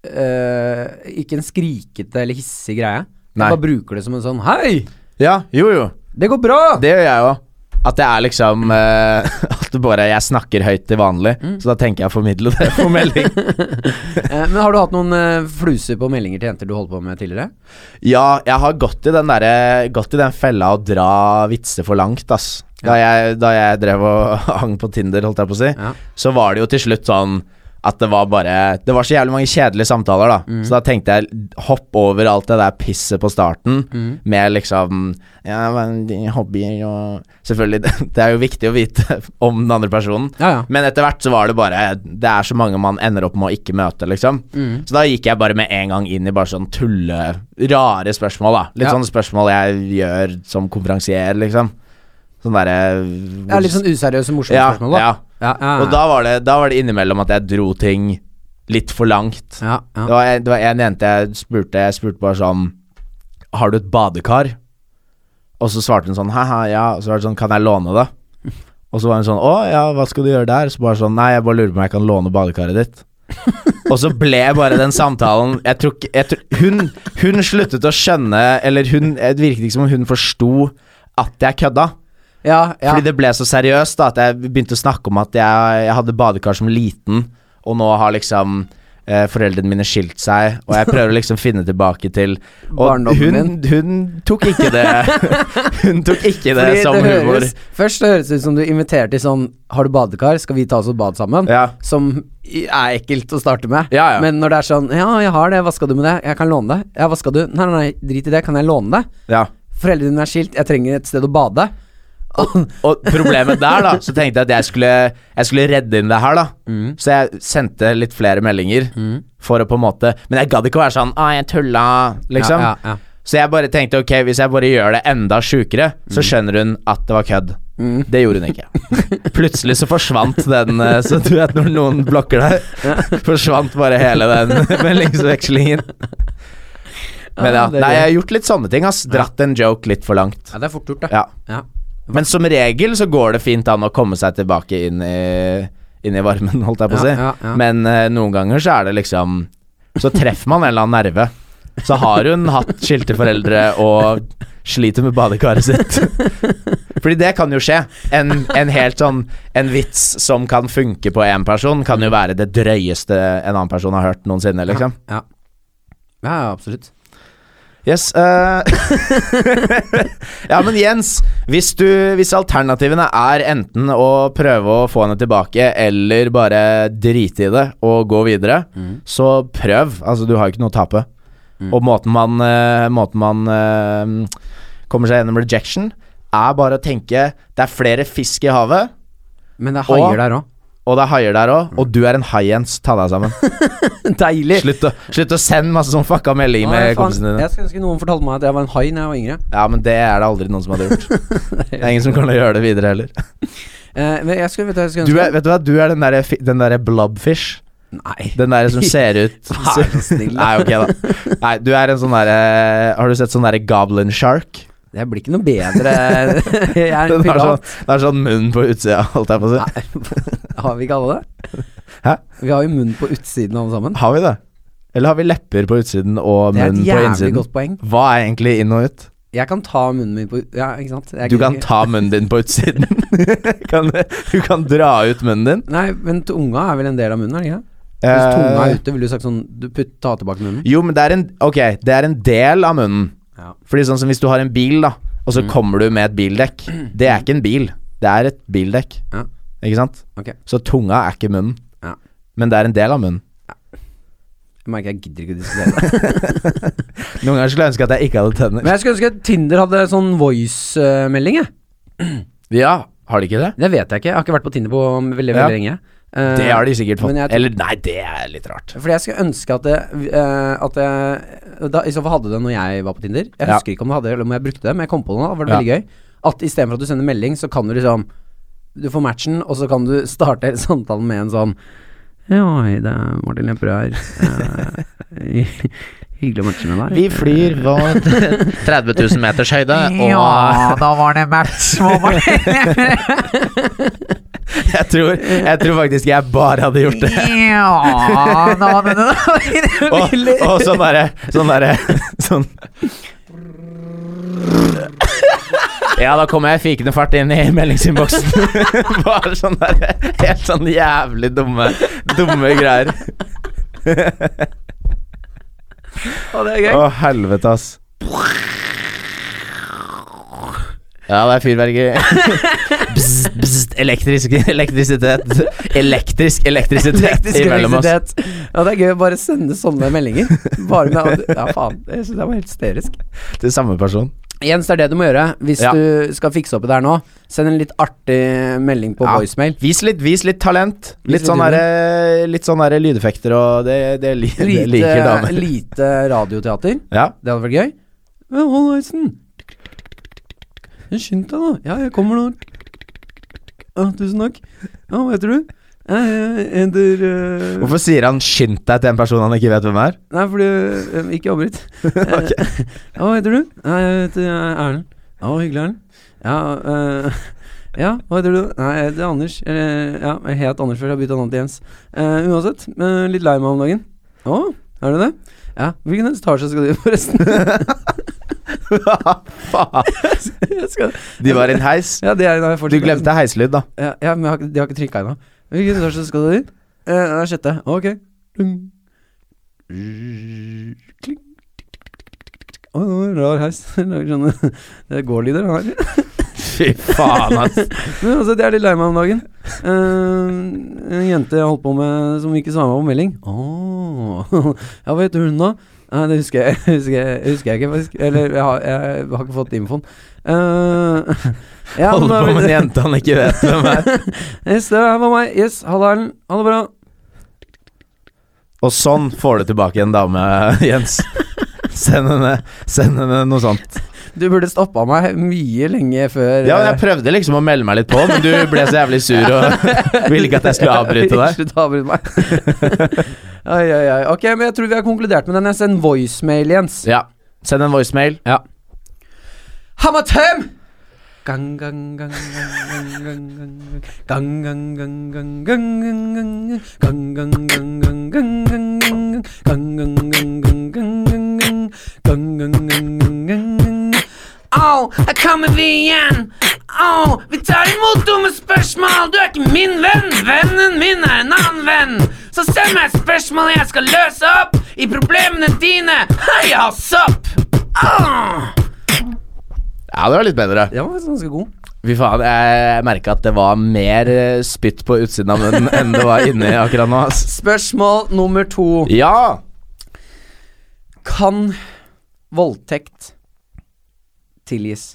Speaker 2: eh, Ikke en skrikete eller hissig greie.
Speaker 1: Nei.
Speaker 2: Jeg bare bruker det som en sånn Hei!
Speaker 1: Ja, jo, jo.
Speaker 2: Det går bra!
Speaker 1: Det gjør jeg òg. At det er liksom eh, At det bare Jeg snakker høyt til vanlig,
Speaker 2: Mm.
Speaker 1: så da tenker jeg å formidle det på melding.
Speaker 2: Eh, men har du hatt noen eh, fluser på meldinger til jenter du holdt på med tidligere?
Speaker 1: Ja, jeg har gått i den derre Gått i den fella å dra vitser for langt, ass. Da jeg, da jeg drev og hang på Tinder, holdt jeg på å si,
Speaker 2: Ja.
Speaker 1: så var det jo til slutt sånn at det var bare Det var så jævlig mange kjedelige samtaler, da. Så da tenkte jeg hopp over alt det der pisset på starten, med liksom Ja, men de hobbyer og Selvfølgelig, det, det er jo viktig å vite om den andre personen.
Speaker 2: Ja, ja.
Speaker 1: Men etter hvert så var det bare Det er så mange man ender opp med å ikke møte, liksom.
Speaker 2: Mm.
Speaker 1: Så da gikk jeg bare med en gang inn i bare sånn tulle Rare spørsmål, da. Litt
Speaker 2: Ja.
Speaker 1: sånne spørsmål jeg gjør som konferansier, liksom. Sånn derre
Speaker 2: Ja, litt sånn useriøse, morsomme
Speaker 1: Ja,
Speaker 2: spørsmål, da. Ah.
Speaker 1: ja.
Speaker 2: Ja, ja,
Speaker 1: Og da var, det, da var det innimellom at jeg dro ting litt for langt.
Speaker 2: ja, ja.
Speaker 1: Det, var en, det var en jente jeg spurte Jeg spurte bare sånn Har du et badekar? Og så svarte hun sånn Haha, ja Og så var det sånn Kan jeg låne det? Og så var hun sånn Å ja, hva skal du gjøre der? Så bare sånn Nei, jeg bare lurer på om jeg kan låne badekaret ditt og så ble bare den samtalen jeg tror, ikke- jeg tror, hun, hun sluttet å skjønne Eller hun, det virket ikke som om hun forsto At jeg kødda
Speaker 2: ja, ja.
Speaker 1: fordi det ble så seriøst da, at jeg begynte å snakke om at jeg, jeg hadde badekar som liten, og nå har liksom eh, foreldrene mine skilt seg, og jeg prøver å liksom finne tilbake til Og
Speaker 2: Barndommen
Speaker 1: hun, hun tok ikke det Hun tok ikke det
Speaker 2: Fordi
Speaker 1: som humor.
Speaker 2: høres, først det høres ut som du inviterer til sånn Har du badekar, skal vi ta oss og bade sammen?
Speaker 1: Ja.
Speaker 2: Som i- er ekkelt å starte med.
Speaker 1: Ja, ja.
Speaker 2: Men når det er sånn Ja, jeg har det, hva skal du med det? Jeg kan låne det. Ja, hva skal du? Nei, nei, nei, drit i det, kan jeg låne det?
Speaker 1: ja.
Speaker 2: Foreldrene dine er skilt, jeg trenger et sted å bade. Og-
Speaker 1: Og problemet der, da, så tenkte jeg at jeg skulle, jeg skulle redde inn det her, da.
Speaker 2: Mm.
Speaker 1: Så jeg sendte litt flere meldinger for å på en måte Men jeg gadd ikke å være sånn 'Å, jeg tulla', liksom.
Speaker 2: Ja, ja, ja.
Speaker 1: Så jeg bare tenkte ok, hvis jeg bare gjør det enda sjukere,
Speaker 2: Mm.
Speaker 1: så skjønner hun at det var kødd. Det gjorde hun ikke. Plutselig så forsvant den eh, Så du vet når noen blokker deg, forsvant bare hele den meldingsvekslingen. Men ja,
Speaker 2: Ja, det er
Speaker 1: nei,
Speaker 2: gøy.
Speaker 1: jeg har gjort litt sånne ting, ass. Dratt en joke litt for langt.
Speaker 2: ja, det er fort gjort, da.
Speaker 1: Ja.
Speaker 2: Ja.
Speaker 1: Men som regel så går det fint an å komme seg tilbake inn i, inn i varmen, holdt jeg på å
Speaker 2: Ja,
Speaker 1: si.
Speaker 2: ja, ja.
Speaker 1: Men eh, noen ganger så er det liksom Så treffer man en eller annen nerve. Så har hun hatt skilte foreldre og sliter med badekaret sitt. Fordi det kan jo skje. En, en helt sånn En vits som kan funke på én person, kan jo være det drøyeste en annen person har hørt noensinne, liksom.
Speaker 2: Ja. ja, ja, absolutt.
Speaker 1: Yes. eh, ja, men Jens, hvis, du, hvis alternativene er enten å prøve å få henne tilbake, eller bare drite i det og gå videre, så prøv. Altså, du har jo ikke noe å tape. Og måten man, eh, måten man eh, kommer seg gjennom rejection, er bare å tenke det er flere fisk i havet,
Speaker 2: Men det er haier
Speaker 1: Og-
Speaker 2: der òg.
Speaker 1: og det er haier der òg, og du er en hai, Jens. Ta deg sammen.
Speaker 2: Deilig!
Speaker 1: Slutt å, slutt å sende masse sånn fucka meldinger
Speaker 2: Å,
Speaker 1: med
Speaker 2: faen,
Speaker 1: kompisene dine.
Speaker 2: jeg skulle ønske noen fortalte meg at jeg var en hai da jeg var yngre.
Speaker 1: Ja, men det er det aldri noen som hadde gjort. Det er ingen som kommer til å gjøre det videre heller.
Speaker 2: Eh, men jeg skulle, vet du, hva jeg skulle
Speaker 1: Du er,
Speaker 2: ønske
Speaker 1: vet du hva, du er den derre fi- den derre blobfish.
Speaker 2: Nei.
Speaker 1: Den derre som ser ut
Speaker 2: Vær så snill, da.
Speaker 1: Nei, ok, da. Nei, du er en sånn derre Har du sett sånn derre goblin shark?
Speaker 2: Det blir ikke noe bedre. jeg er en
Speaker 1: Den har
Speaker 2: pirat.
Speaker 1: sånn, den har sånn munn på utsida, holdt jeg på å si.
Speaker 2: Har vi ikke alle det?
Speaker 1: Hæ?
Speaker 2: Vi har jo munnen på utsiden alle sammen.
Speaker 1: Har vi det? Eller har vi lepper på utsiden og
Speaker 2: Det er et
Speaker 1: munn på
Speaker 2: jævlig
Speaker 1: innsiden?
Speaker 2: godt poeng.
Speaker 1: Hva er egentlig inn og ut?
Speaker 2: Jeg kan ta munnen min på Ja, ikke sant? Jeg
Speaker 1: Du kan
Speaker 2: ikke-
Speaker 1: ta munnen din på utsiden. kan, du kan dra ut munnen din.
Speaker 2: Nei, men tunga er vel en del av munnen, er det ikke det? Hvis
Speaker 1: Eh,
Speaker 2: tunga er ute, ville du sagt sånn Du putt, ta tilbake munnen.
Speaker 1: Jo, men det er en Ok, det er en del av munnen.
Speaker 2: Ja. Mm.
Speaker 1: Fordi sånn som hvis du har en bil, da, og så kommer du med et bildekk. Det er ikke en bil, det er et bildekk.
Speaker 2: Ja.
Speaker 1: Ikke sant?
Speaker 2: Ok.
Speaker 1: Så tunga er ikke munnen.
Speaker 2: Ja.
Speaker 1: Men det er en del av munnen.
Speaker 2: Jeg merker jeg gidder ikke å diskutere det.
Speaker 1: Noen ganger skulle jeg ønske at jeg ikke hadde
Speaker 2: Men
Speaker 1: tenner.
Speaker 2: jeg skulle ønske Tinder hadde sånn voice-melding, jeg.
Speaker 1: Ja, har de ikke det?
Speaker 2: Det vet jeg ikke. Jeg har ikke vært på Tinder på veldig, veldig
Speaker 1: Ja.
Speaker 2: lenge. Eh,
Speaker 1: Det har de sikkert fått.
Speaker 2: men jeg tror-
Speaker 1: Eller nei, det er litt rart.
Speaker 2: Fordi jeg skulle ønske at det, eh, at det da, I så fall hadde det når jeg var på Tinder. Jeg
Speaker 1: Ja.
Speaker 2: husker ikke om det hadde det, eller om jeg brukte det, men jeg kom på det nå. Det var det veldig gøy. At istedenfor at du sender melding, så kan du liksom Du får matchen, og så kan du starte hele samtalen med en sånn Ja, hei, det er Martin Lepperød her. Eh, hyggelig å matche med deg.
Speaker 1: flyr på 30 000 meters høyde,
Speaker 2: da var det match, mamma.
Speaker 1: jeg, tror, jeg tror faktisk jeg bare hadde gjort det.
Speaker 2: ja, da var det
Speaker 1: Og, og sånn derre Sånn derre Sånn Ja, da kommer jeg i fikende fart inn i meldingsinnboksen. Bare sånn derre Helt sånn jævlig dumme Dumme greier.
Speaker 2: det er
Speaker 1: Å, helvete, ass. Ja, det er fyrverkeri. Bzz, bzz, elektrisk elektrisitet. Elektrisk elektrisitet
Speaker 2: Elektrisk
Speaker 1: imellom oss.
Speaker 2: elektrisitet. Ja, det er gøy å bare sende sånne meldinger. Bare med Ja, faen. Jeg synes det var helt hysterisk.
Speaker 1: Til samme person.
Speaker 2: Jens, det er det du må gjøre hvis
Speaker 1: Ja.
Speaker 2: du skal fikse opp i det her nå. Send en litt artig melding på
Speaker 1: Ja.
Speaker 2: voicemail.
Speaker 1: Vis litt, vis litt talent.
Speaker 2: Vis
Speaker 1: Litt
Speaker 2: litt
Speaker 1: sånn derre Litt sånn derre lydeffekter og det, det, li, det
Speaker 2: Lite,
Speaker 1: liker damer.
Speaker 2: lite radioteater.
Speaker 1: Ja.
Speaker 2: Det hadde vært gøy. Ja, Hallaisen. Skynd deg, da. Ja, jeg kommer nå. Ja, tusen takk. Ja, hva heter du? Ja, Jeg heter eh,
Speaker 1: Hvorfor sier han 'skynd deg' til en person han ikke vet hvem er?
Speaker 2: Nei, fordi eh, Ikke avbryt.
Speaker 1: Ok.
Speaker 2: Ja, hva heter du? Nei, jeg heter eh, Erlend. Ja, hva hyggelig, Erlend. Ja, eh, ja, hva heter du? Nei, jeg heter Anders. Eller, ja, jeg het Anders før, jeg har bytta navn til Jens. Eh, uansett, eh, litt lei meg om dagen. Å, er du det? Ja. Hvilken etasje skal du i, forresten?
Speaker 1: Hva faen?
Speaker 2: Jeg skal,
Speaker 1: De var i en heis.
Speaker 2: ja, det er nei, fortsatt-
Speaker 1: Du glemte heislyd, da.
Speaker 2: Ja, ja men jeg har, ikke- de har ikke trykka ennå. Hvilken etasje skal du i? Eh, det er sjette. Ok. Dung. Kling. Å, det var en rar heis. Jeg Lager sånne Det er gårdlyder, han her.
Speaker 1: Fy faen, ass.
Speaker 2: Men altså, jeg er litt lei meg om dagen. Eh, en jente jeg holdt på med som ikke svarte meg på melding. Åh Ja, hva heter hun da? Nei, det husker jeg, husker jeg, husker jeg ikke, faktisk. Eller jeg har, jeg har ikke fått infoen. Uh,
Speaker 1: Holder på med en jente han ikke vet hvem er.
Speaker 2: Yes, det her var meg. Yes, ha det, Erlend. Ha det bra.
Speaker 1: Og sånn får du tilbake en dame, Jens. Send henne, send henne noe sånt.
Speaker 2: Du burde stoppa meg mye lenge før eh,
Speaker 1: Ja, jeg prøvde liksom å melde meg litt på, men du ble så jævlig sur og ville ikke at jeg skulle avbryte deg.
Speaker 2: Slutt å avbryte meg. ai, ai, ai. Ok, men jeg tror vi har konkludert med den. Jeg sender voicemail, Jens.
Speaker 1: Ja. Send en voicemail.
Speaker 2: Ja. Hammertem! Gang, gang, gang, gang, gang, gang, gang, gang, gang, gang, gang, gang, gang, gang, gang, gang, gang, gang, gang, gang, gang, gang, gang, gang, gang, gang, gang, gang, gang, gang, gang. Au, her kommer vi igjen. Au, vi tar imot dumme spørsmål. Du er ikke min venn. Vennen min er en annen venn. Så send meg et spørsmål jeg skal løse opp i problemene dine. Heia sopp! Ah!
Speaker 1: Ja, det var litt bedre.
Speaker 2: Den var faktisk ganske god.
Speaker 1: Fy faen, jeg merka at det var mer eh, spytt på utsiden av munnen enn det var inni akkurat nå. ass.
Speaker 2: Spørsmål nummer to.
Speaker 1: Ja!
Speaker 2: Kan voldtekt tilgis?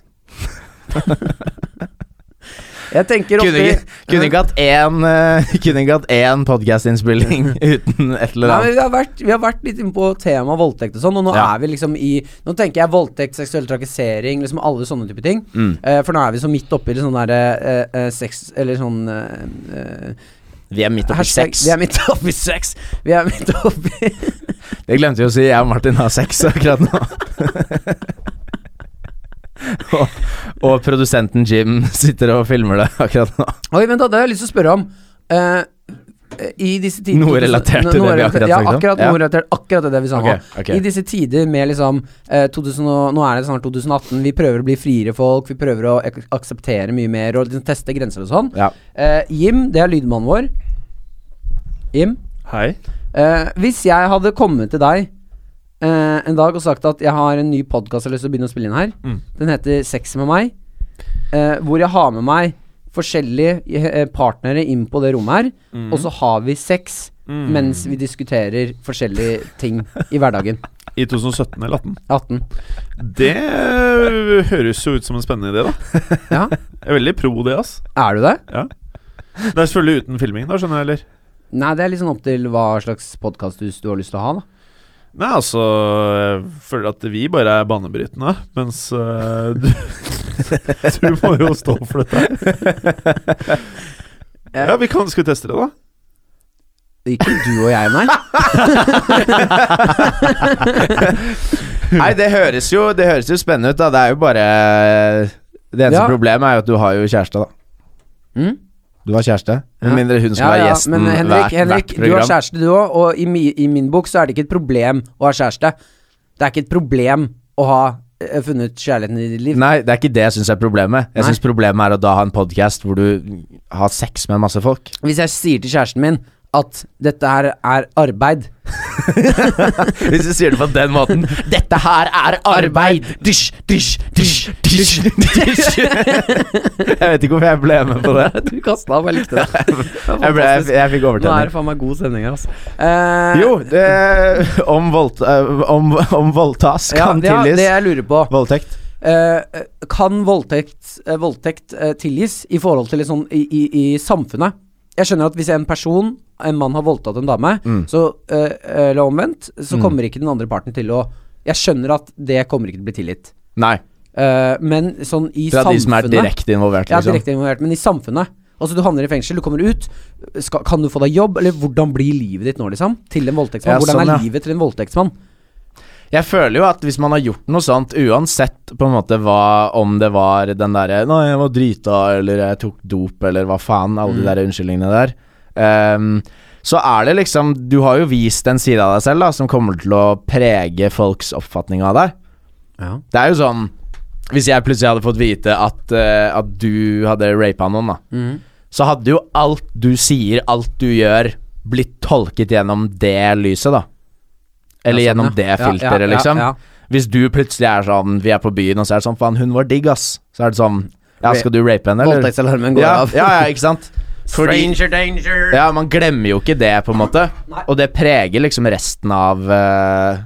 Speaker 2: Jeg tenker
Speaker 1: Kunne
Speaker 2: oppi
Speaker 1: ikke, kunne ikke hatt én, eh, kunne ikke hatt én podkastinnspilling uten et eller
Speaker 2: Nei, men
Speaker 1: annet.
Speaker 2: vi, har vært, vi har vært litt inne på temaet voldtekt og sånn, og nå
Speaker 1: Ja.
Speaker 2: er vi liksom i Nå tenker jeg voldtekt, seksuell trakassering, liksom alle sånne type ting.
Speaker 1: Mm.
Speaker 2: Eh, for nå er vi så midt oppi sånn derre eh, eh, sex Eller sånn eh, eh,
Speaker 1: Vi er midt oppi
Speaker 2: hashtag-
Speaker 1: sex.
Speaker 2: Vi er midt oppi sex! Vi er midt oppi
Speaker 1: Det glemte vi å si. Jeg og Martin har sex akkurat nå. og, og produsenten Jim sitter og filmer det akkurat nå.
Speaker 2: Oi, vent da, det har jeg lyst til å spørre om. Eh, I disse tider
Speaker 1: Noe relatert til det vi akkurat
Speaker 2: ja,
Speaker 1: snakket om?
Speaker 2: akkurat
Speaker 1: Ja.
Speaker 2: noe relatert akkurat til det vi sa
Speaker 1: Ok,
Speaker 2: nå.
Speaker 1: ok.
Speaker 2: I disse tider med liksom eh, 2000 og, Nå er det snart 2018, vi prøver å bli friere folk, vi prøver å ak akseptere mye mer og liksom teste grenser og sånn.
Speaker 1: Ja.
Speaker 2: Eh, Jim, det er lydmannen vår. Jim,
Speaker 3: Hei.
Speaker 2: eh, hvis jeg hadde kommet til deg eh, en dag og sagt at jeg har en ny podkast jeg har lyst til å begynne å spille inn her, den heter Sex med meg, eh, hvor jeg har med meg forskjellige eh, partnere inn på det rommet her, og så har vi sex mens vi diskuterer forskjellige ting i hverdagen.
Speaker 3: I 2017 eller 2018.
Speaker 2: 18.
Speaker 3: Det øh, høres jo ut som en spennende idé, da.
Speaker 2: Ja,
Speaker 3: Jeg er veldig pro det, ass.
Speaker 2: er du det?
Speaker 3: Ja. Det er selvfølgelig uten filming, da, skjønner jeg, eller?
Speaker 2: Nei, det er litt sånn opp til hva slags podkasthus du har lyst til å ha, da.
Speaker 3: Nei, altså Jeg føler at vi bare er banebrytende, mens øh, du, du må jo stå for dette. her. Ja, vi kan skulle teste det, da.
Speaker 2: Ikke du og jeg, nei.
Speaker 1: Nei, det høres, jo, det høres jo spennende ut, da. Det er jo bare eh, Det eneste
Speaker 2: Ja.
Speaker 1: problemet er jo at du har jo kjæreste, da.
Speaker 2: Mm?
Speaker 1: Du har kjæreste. Med
Speaker 2: Ja.
Speaker 1: mindre hun skal
Speaker 2: Ja,
Speaker 1: være
Speaker 2: ja,
Speaker 1: gjesten
Speaker 2: men Henrik,
Speaker 1: hvert,
Speaker 2: Henrik
Speaker 1: hvert
Speaker 2: du har
Speaker 1: program.
Speaker 2: kjæreste du òg, og i, mi, i min bok så er det ikke et problem å ha kjæreste. Det er ikke et problem å ha eh, funnet kjærligheten i ditt liv.
Speaker 1: Nei, det er ikke det jeg syns er problemet. Jeg
Speaker 2: Nei.
Speaker 1: syns problemet er å da ha en podkast hvor du har sex med masse folk.
Speaker 2: Hvis jeg sier til kjæresten min at dette her er arbeid
Speaker 1: Hvis du sier det på den måten Dette her er arbeid! Dysj, dysj, dysj, dysj, dysj. Jeg vet ikke hvorfor jeg ble med på det.
Speaker 2: Du kasta opp, jeg likte det.
Speaker 1: Jeg, ble, jeg, jeg fikk
Speaker 2: Nå er
Speaker 1: overtenning.
Speaker 2: det faen meg god stemning her, altså. Eh,
Speaker 1: Jo, det, om, voldt, eh, om, om voldtas
Speaker 2: ja,
Speaker 1: kan
Speaker 2: ja, det
Speaker 1: tilgis
Speaker 2: jeg lurer på
Speaker 1: voldtekt.
Speaker 2: Eh, Kan voldtekt, eh, voldtekt eh, tilgis i forhold til liksom i, i, i samfunnet? Jeg skjønner at hvis en person, en mann, har voldtatt en dame,
Speaker 1: Mm.
Speaker 2: så, eh, eller omvendt, så kommer ikke den andre parten til å Jeg skjønner at det kommer ikke til å bli tilgitt.
Speaker 1: Nei,
Speaker 2: Eh, men sånn i
Speaker 1: fra
Speaker 2: samfunnet
Speaker 1: de som er direkte involvert.
Speaker 2: Ja,
Speaker 1: Liksom.
Speaker 2: direkte involvert, men i samfunnet. Altså, du havner i fengsel, du kommer ut. Skal, kan du få deg jobb, eller hvordan blir livet ditt nå, liksom? Til en voldtektsmann.
Speaker 1: Ja,
Speaker 2: hvordan
Speaker 1: sånn, ja.
Speaker 2: er livet til en voldtektsmann?
Speaker 1: Jeg føler jo at hvis man har gjort noe sånt, uansett på en måte hva om det var den derre 'Nei, jeg var drita', eller 'jeg tok dop', eller hva faen,
Speaker 2: Mm.
Speaker 1: alle de der unnskyldningene der. Ehm, så er det liksom Du har jo vist en side av deg selv da som kommer til å prege folks oppfatning av deg.
Speaker 2: Ja.
Speaker 1: Det er jo sånn Hvis jeg plutselig hadde fått vite at, eh, at du hadde rapa noen, da,
Speaker 2: Mm.
Speaker 1: så hadde jo alt du sier, alt du gjør, blitt tolket gjennom det lyset, da. Eller
Speaker 2: Ja, sånn,
Speaker 1: gjennom
Speaker 2: ja.
Speaker 1: det
Speaker 2: Ja,
Speaker 1: filteret,
Speaker 2: ja, ja,
Speaker 1: liksom.
Speaker 2: ja.
Speaker 1: Hvis du plutselig er sånn Vi er på byen, og så er det sånn Faen, hun var digg, ass. Så er det sånn Ja, skal du rape henne, eller?
Speaker 2: Voldtektsalarmen går
Speaker 1: Ja,
Speaker 2: av.
Speaker 1: ja, ja, ikke sant? Fordi
Speaker 2: Stranger danger!
Speaker 1: Ja, man glemmer jo ikke det, på en måte.
Speaker 2: Nei.
Speaker 1: Og det preger liksom resten av eh,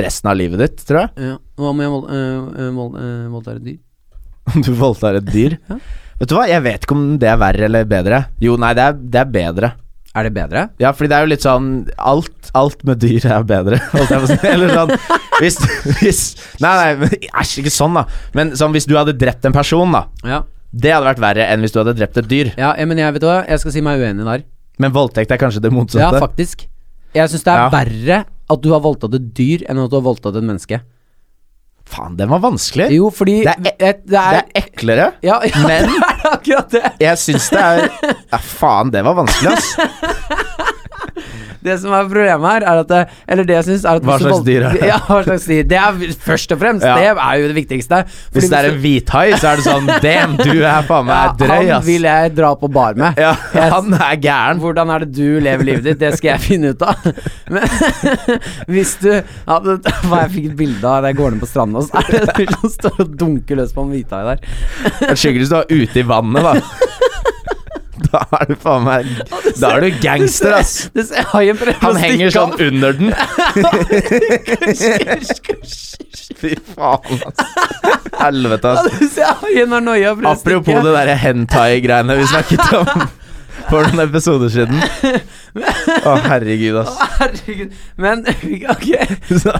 Speaker 1: Resten av livet ditt, tror jeg.
Speaker 2: Ja, Hva om jeg vold-
Speaker 1: eh,
Speaker 2: øh, øh, vold- øh, voldtar et dyr?
Speaker 1: Om du voldtar et dyr.
Speaker 2: Ja.
Speaker 1: Vet du hva, jeg vet ikke om det er verre eller bedre. Jo, nei, det er, det er bedre.
Speaker 2: Er det bedre?
Speaker 1: Ja, fordi det er jo litt sånn Alt, alt med dyr er bedre, holdt jeg på å si. Eller sånn Hvis, hvis Nei, nei, men- æsj, ikke sånn, da. Men sånn, hvis du hadde drept en person, da.
Speaker 2: Ja.
Speaker 1: Det hadde vært verre enn hvis du hadde drept et dyr.
Speaker 2: ja, eh, men jeg vet du hva, jeg skal si meg uenig der.
Speaker 1: Men voldtekt er kanskje det
Speaker 2: Ja,
Speaker 1: motsatte.
Speaker 2: faktisk. Jeg syns det er
Speaker 1: Ja.
Speaker 2: verre at du har voldtatt et dyr, enn at du har voldtatt et menneske.
Speaker 1: Faen, den var vanskelig.
Speaker 2: Jo, fordi
Speaker 1: Det er ek-
Speaker 2: et- det
Speaker 1: Det
Speaker 2: er,
Speaker 1: er eklere.
Speaker 2: ja, ja,
Speaker 1: Men-
Speaker 2: det er akkurat det!
Speaker 1: Jeg syns det er Ja, faen, det var vanskelig, ass.
Speaker 2: Det som er problemet her, er at det, Eller det jeg syns, er at
Speaker 1: Hva
Speaker 2: hvis du
Speaker 1: slags
Speaker 2: vold-
Speaker 1: dyr er det?
Speaker 2: Ja, hva slags dyr? Det er først og fremst.
Speaker 1: Ja.
Speaker 2: Det er jo det viktigste.
Speaker 1: Hvis det er
Speaker 2: Fordi
Speaker 1: en hvithai, så er det sånn Damn, du er faen meg
Speaker 2: ja,
Speaker 1: drøy,
Speaker 2: Han
Speaker 1: ass.
Speaker 2: vil jeg dra på bar med.
Speaker 1: Ja, han er gæren.
Speaker 2: Hvordan er det du lever livet ditt? Det skal jeg finne ut av. Men hvis du hadde Hva, jeg fikk et bilde av deg gående på stranda, og så er det en fyr som står og dunker løs på en hvithai der.
Speaker 1: Det er Sikkert hvis du er ute i vannet, da. Da er du faen meg Da er du gangster, ass.
Speaker 2: Det ser, haien prøver
Speaker 1: Han
Speaker 2: å
Speaker 1: henger
Speaker 2: stikke av.
Speaker 1: sånn under den. Fy faen, ass. helvete, ass.
Speaker 2: Igjen er noia for det
Speaker 1: Apropos
Speaker 2: stikket.
Speaker 1: det derre hentai-greiene vi snakket om for noen episoder siden. Å, herregud, ass.
Speaker 2: Å, Herregud. Men ok.
Speaker 1: Så-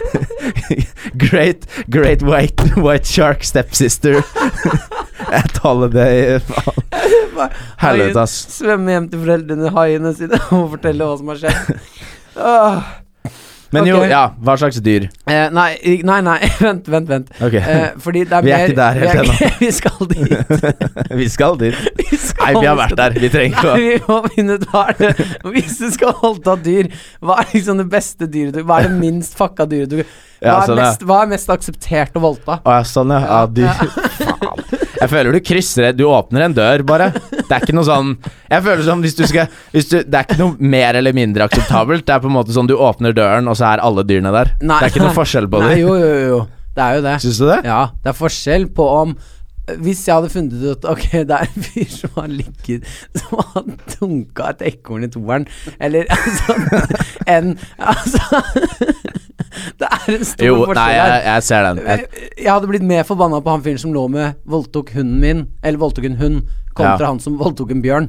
Speaker 1: great great white, white shark stepsister. Jeg taler det i faen. Helvete, ass.
Speaker 2: Svømme hjem til foreldrene, haiene sine, og fortelle hva som har skjedd. Åh.
Speaker 1: Men jo,
Speaker 2: Ok.
Speaker 1: ja, hva slags dyr?
Speaker 2: Eh, nei, i- nei, nei, vent, vent, vent.
Speaker 1: Ok,
Speaker 2: Eh, fordi det er
Speaker 1: Vi er
Speaker 2: mer-
Speaker 1: ikke der helt
Speaker 2: vi er ikke- Vi skal dit.
Speaker 1: vi skal dit.
Speaker 2: Vi skal
Speaker 1: Nei, vi har vært der. Vi trenger ikke
Speaker 2: Nei,
Speaker 1: å
Speaker 2: vi må finne ut hva er det Hvis du skal voldta dyr, hva er liksom det beste dyret du Hva er det minst fucka dyret du hva
Speaker 1: Ja,
Speaker 2: er,
Speaker 1: sånn, ja.
Speaker 2: mest, hva er mest akseptert å voldta?
Speaker 1: Å ja, sånn ja. ja du, faen. Jeg føler du krysser Du åpner en dør, bare. Det er ikke noe sånn Jeg føler som hvis du skal hvis du, Det er ikke noe mer eller mindre akseptabelt. Det er på en måte sånn du åpner døren, og så er alle dyrene der.
Speaker 2: Nei.
Speaker 1: Det er ikke noe forskjell på
Speaker 2: Nei,
Speaker 1: dem.
Speaker 2: jo, jo, jo. Det er jo det.
Speaker 1: Syns du det?
Speaker 2: Ja, det er forskjell på om Hvis jeg hadde funnet ut at ok, det er en fyr som har ligget Som har dunka et ekorn i toeren, eller altså En Altså Det er en stor
Speaker 1: Jo,
Speaker 2: forskjell
Speaker 1: nei,
Speaker 2: her.
Speaker 1: jeg, jeg ser den. Jeg,
Speaker 2: Jeg, jeg hadde blitt mer forbanna på han fyren som lå med voldtok hunden min, eller voldtok en hund, kontra
Speaker 1: Ja.
Speaker 2: han som voldtok en bjørn.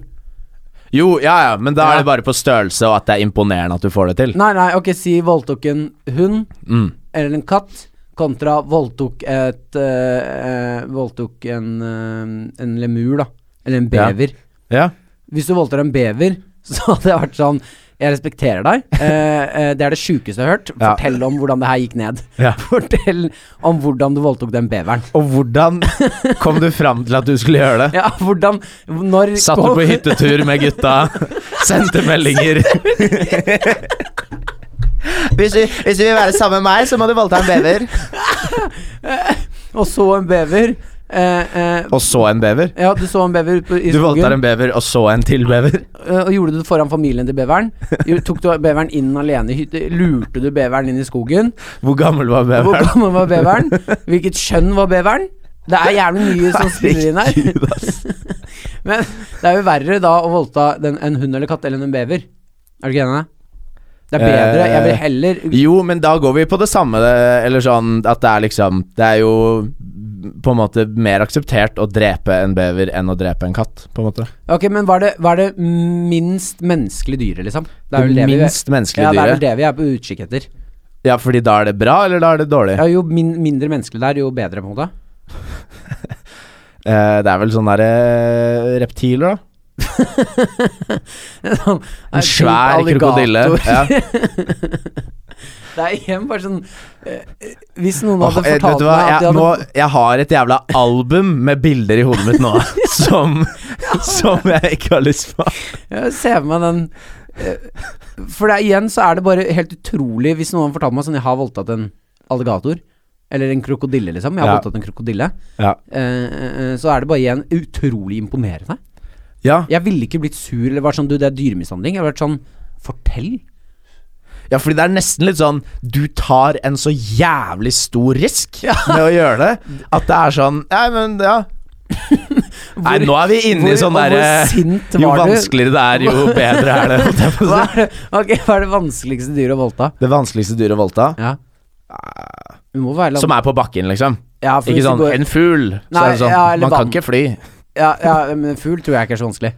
Speaker 1: jo, ja ja, men da
Speaker 2: Ja.
Speaker 1: er det bare på størrelse, og at det er imponerende at du får det til.
Speaker 2: Nei, nei, ok, si voldtok en hund
Speaker 1: Mm.
Speaker 2: eller en katt, kontra voldtok et eh, eh, Voldtok en, eh, en lemur, da. Eller en
Speaker 1: Ja.
Speaker 2: bever.
Speaker 1: Ja.
Speaker 2: Hvis du voldtar en bever, så hadde jeg vært sånn Jeg respekterer deg. eh, eh, det er det sjukeste jeg har hørt.
Speaker 1: Ja.
Speaker 2: Fortell om hvordan det her gikk ned.
Speaker 1: Ja.
Speaker 2: Fortell om hvordan du voldtok den beveren.
Speaker 1: Og hvordan kom du fram til at du skulle gjøre det?
Speaker 2: Ja, hvordan Når
Speaker 1: Satt du på hyttetur med gutta? Sendte meldinger? Hvis du, vil være sammen med meg, så må du voldta en bever.
Speaker 2: Og så en bever. Eh, eh,
Speaker 1: Og så en bever?
Speaker 2: ja, du så en bever ut på, i
Speaker 1: Du voldtar
Speaker 2: skogen.
Speaker 1: en bever, og så en til bever?
Speaker 2: eh, Og gjorde du det foran familien til beveren? Jo, Tok du beveren inn alene i hytte? Lurte du beveren inn i skogen?
Speaker 1: Hvor gammel var
Speaker 2: Hvor
Speaker 1: beveren?
Speaker 2: gammel var beveren? Hvilket kjønn var beveren? Det er jævlig mye som spiller inn her.
Speaker 1: Herregud, ass.
Speaker 2: Men det er jo verre da å voldta den, en hund eller katt eller en bever. Er du ikke enig? Det er bedre. Jeg vil heller
Speaker 1: Jo, men da går vi på det samme, det- eller sånn at det er liksom Det er jo på en måte mer akseptert å drepe en bever enn å drepe en katt, på en måte.
Speaker 2: Ok, men hva er det, hva er det minst menneskelige dyret, liksom? Det
Speaker 1: Det,
Speaker 2: er vel det vi
Speaker 1: minst
Speaker 2: ja,
Speaker 1: menneskelige
Speaker 2: det er vel
Speaker 1: dyret.
Speaker 2: det vi er på utkikk etter.
Speaker 1: Ja, fordi da er det bra, eller da er det dårlig?
Speaker 2: Ja, jo min, mindre menneskelig det er, jo bedre, på en måte.
Speaker 1: Eh, det er vel sånne der, eh, reptiler, da.
Speaker 2: Sånn,
Speaker 1: En
Speaker 2: nei,
Speaker 1: svær
Speaker 2: typ
Speaker 1: krokodille.
Speaker 2: alligator.
Speaker 1: Ja.
Speaker 2: Det er igjen bare sånn eh, eh, Hvis noen
Speaker 1: Åh,
Speaker 2: hadde
Speaker 1: eh, vet
Speaker 2: fortalt
Speaker 1: du hva,
Speaker 2: meg at de
Speaker 1: jeg,
Speaker 2: hadde
Speaker 1: nå, jeg har et jævla album med bilder i hodet mitt nå som, som jeg ikke har lyst på.
Speaker 2: Jeg ser for meg den eh, For det er, igjen så er det bare helt utrolig hvis noen hadde fortalt meg sånn Jeg har voldtatt en alligator. Eller en krokodille, liksom. Jeg har
Speaker 1: Ja.
Speaker 2: voldtatt en krokodille.
Speaker 1: Ja.
Speaker 2: Eh, eh, eh, så er det bare igjen utrolig imponerende.
Speaker 1: Ja,
Speaker 2: Jeg ville ikke blitt sur eller vært sånn Du, det er dyremishandling. Jeg ville vært sånn Fortell.
Speaker 1: ja, fordi det er nesten litt sånn Du tar en så jævlig stor risk med å gjøre det, at det er sånn Nei, men ja. Nei, nå er vi inne i
Speaker 2: hvor-
Speaker 1: sånn
Speaker 2: og hvor
Speaker 1: derre
Speaker 2: sint
Speaker 1: Jo
Speaker 2: var du?
Speaker 1: vanskeligere det er, jo bedre er det. holdt jeg på å
Speaker 2: Hva
Speaker 1: si.
Speaker 2: er det, ok, hva er det vanskeligste dyret å voldta?
Speaker 1: Det vanskeligste dyret å voldta,
Speaker 2: Ja. Det må være land-
Speaker 1: som er på bakken, liksom.
Speaker 2: ja, for
Speaker 1: Ikke
Speaker 2: hvis du
Speaker 1: sånn
Speaker 2: går-
Speaker 1: en fugl. Så
Speaker 2: Nei,
Speaker 1: er det sånn
Speaker 2: ja, eller
Speaker 1: Man kan
Speaker 2: vann.
Speaker 1: ikke fly.
Speaker 2: ja, ja, men fugl tror jeg ikke er så vanskelig.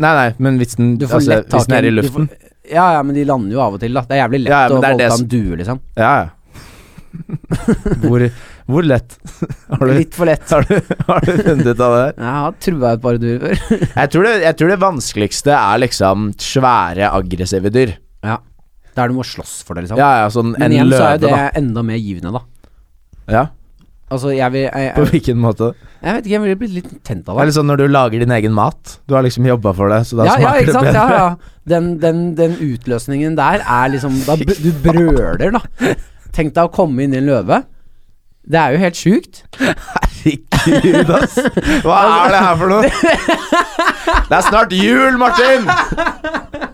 Speaker 1: Nei, nei, men hvis den,
Speaker 2: Du får
Speaker 1: altså,
Speaker 2: lett tak
Speaker 1: hvis den er
Speaker 2: i
Speaker 1: i
Speaker 2: en- du
Speaker 1: luften
Speaker 2: Ja, ja, men de lander jo av og til, da. Det er jævlig lett
Speaker 1: Ja, ja, men
Speaker 2: å
Speaker 1: det er det
Speaker 2: voldta
Speaker 1: som-
Speaker 2: en due, liksom.
Speaker 1: Ja, ja. hvor, hvor lett har du,
Speaker 2: Litt for lett.
Speaker 1: har, du, har du funnet ut av det der?
Speaker 2: Jeg har trua et par duer før.
Speaker 1: Jeg tror det, jeg tror det vanskeligste er liksom svære, aggressive dyr.
Speaker 2: Ja. Der du må slåss for det, liksom.
Speaker 1: Ja, ja, sånn
Speaker 2: men
Speaker 1: en
Speaker 2: igjen så
Speaker 1: løve,
Speaker 2: er jo det
Speaker 1: da.
Speaker 2: enda mer givende, da.
Speaker 1: Ja,
Speaker 2: Altså, jeg vil Jeg,
Speaker 1: på
Speaker 2: jeg,
Speaker 1: hvilken måte?
Speaker 2: jeg vet ikke, jeg ville blitt litt tent av det.
Speaker 1: Eller sånn når du lager din egen mat. Du har liksom jobba for det, så da
Speaker 2: Ja, ja,
Speaker 1: smaker
Speaker 2: ikke sant.
Speaker 1: det
Speaker 2: Ja,
Speaker 1: bedre.
Speaker 2: ja. Den, den, den utløsningen der er liksom da, b- Du brøler, da. Tenk deg å komme inn i en løve. Det er jo helt sjukt.
Speaker 1: Herregud, ass. Hva
Speaker 2: Altså-
Speaker 1: er det her for noe? Det er snart jul, Martin!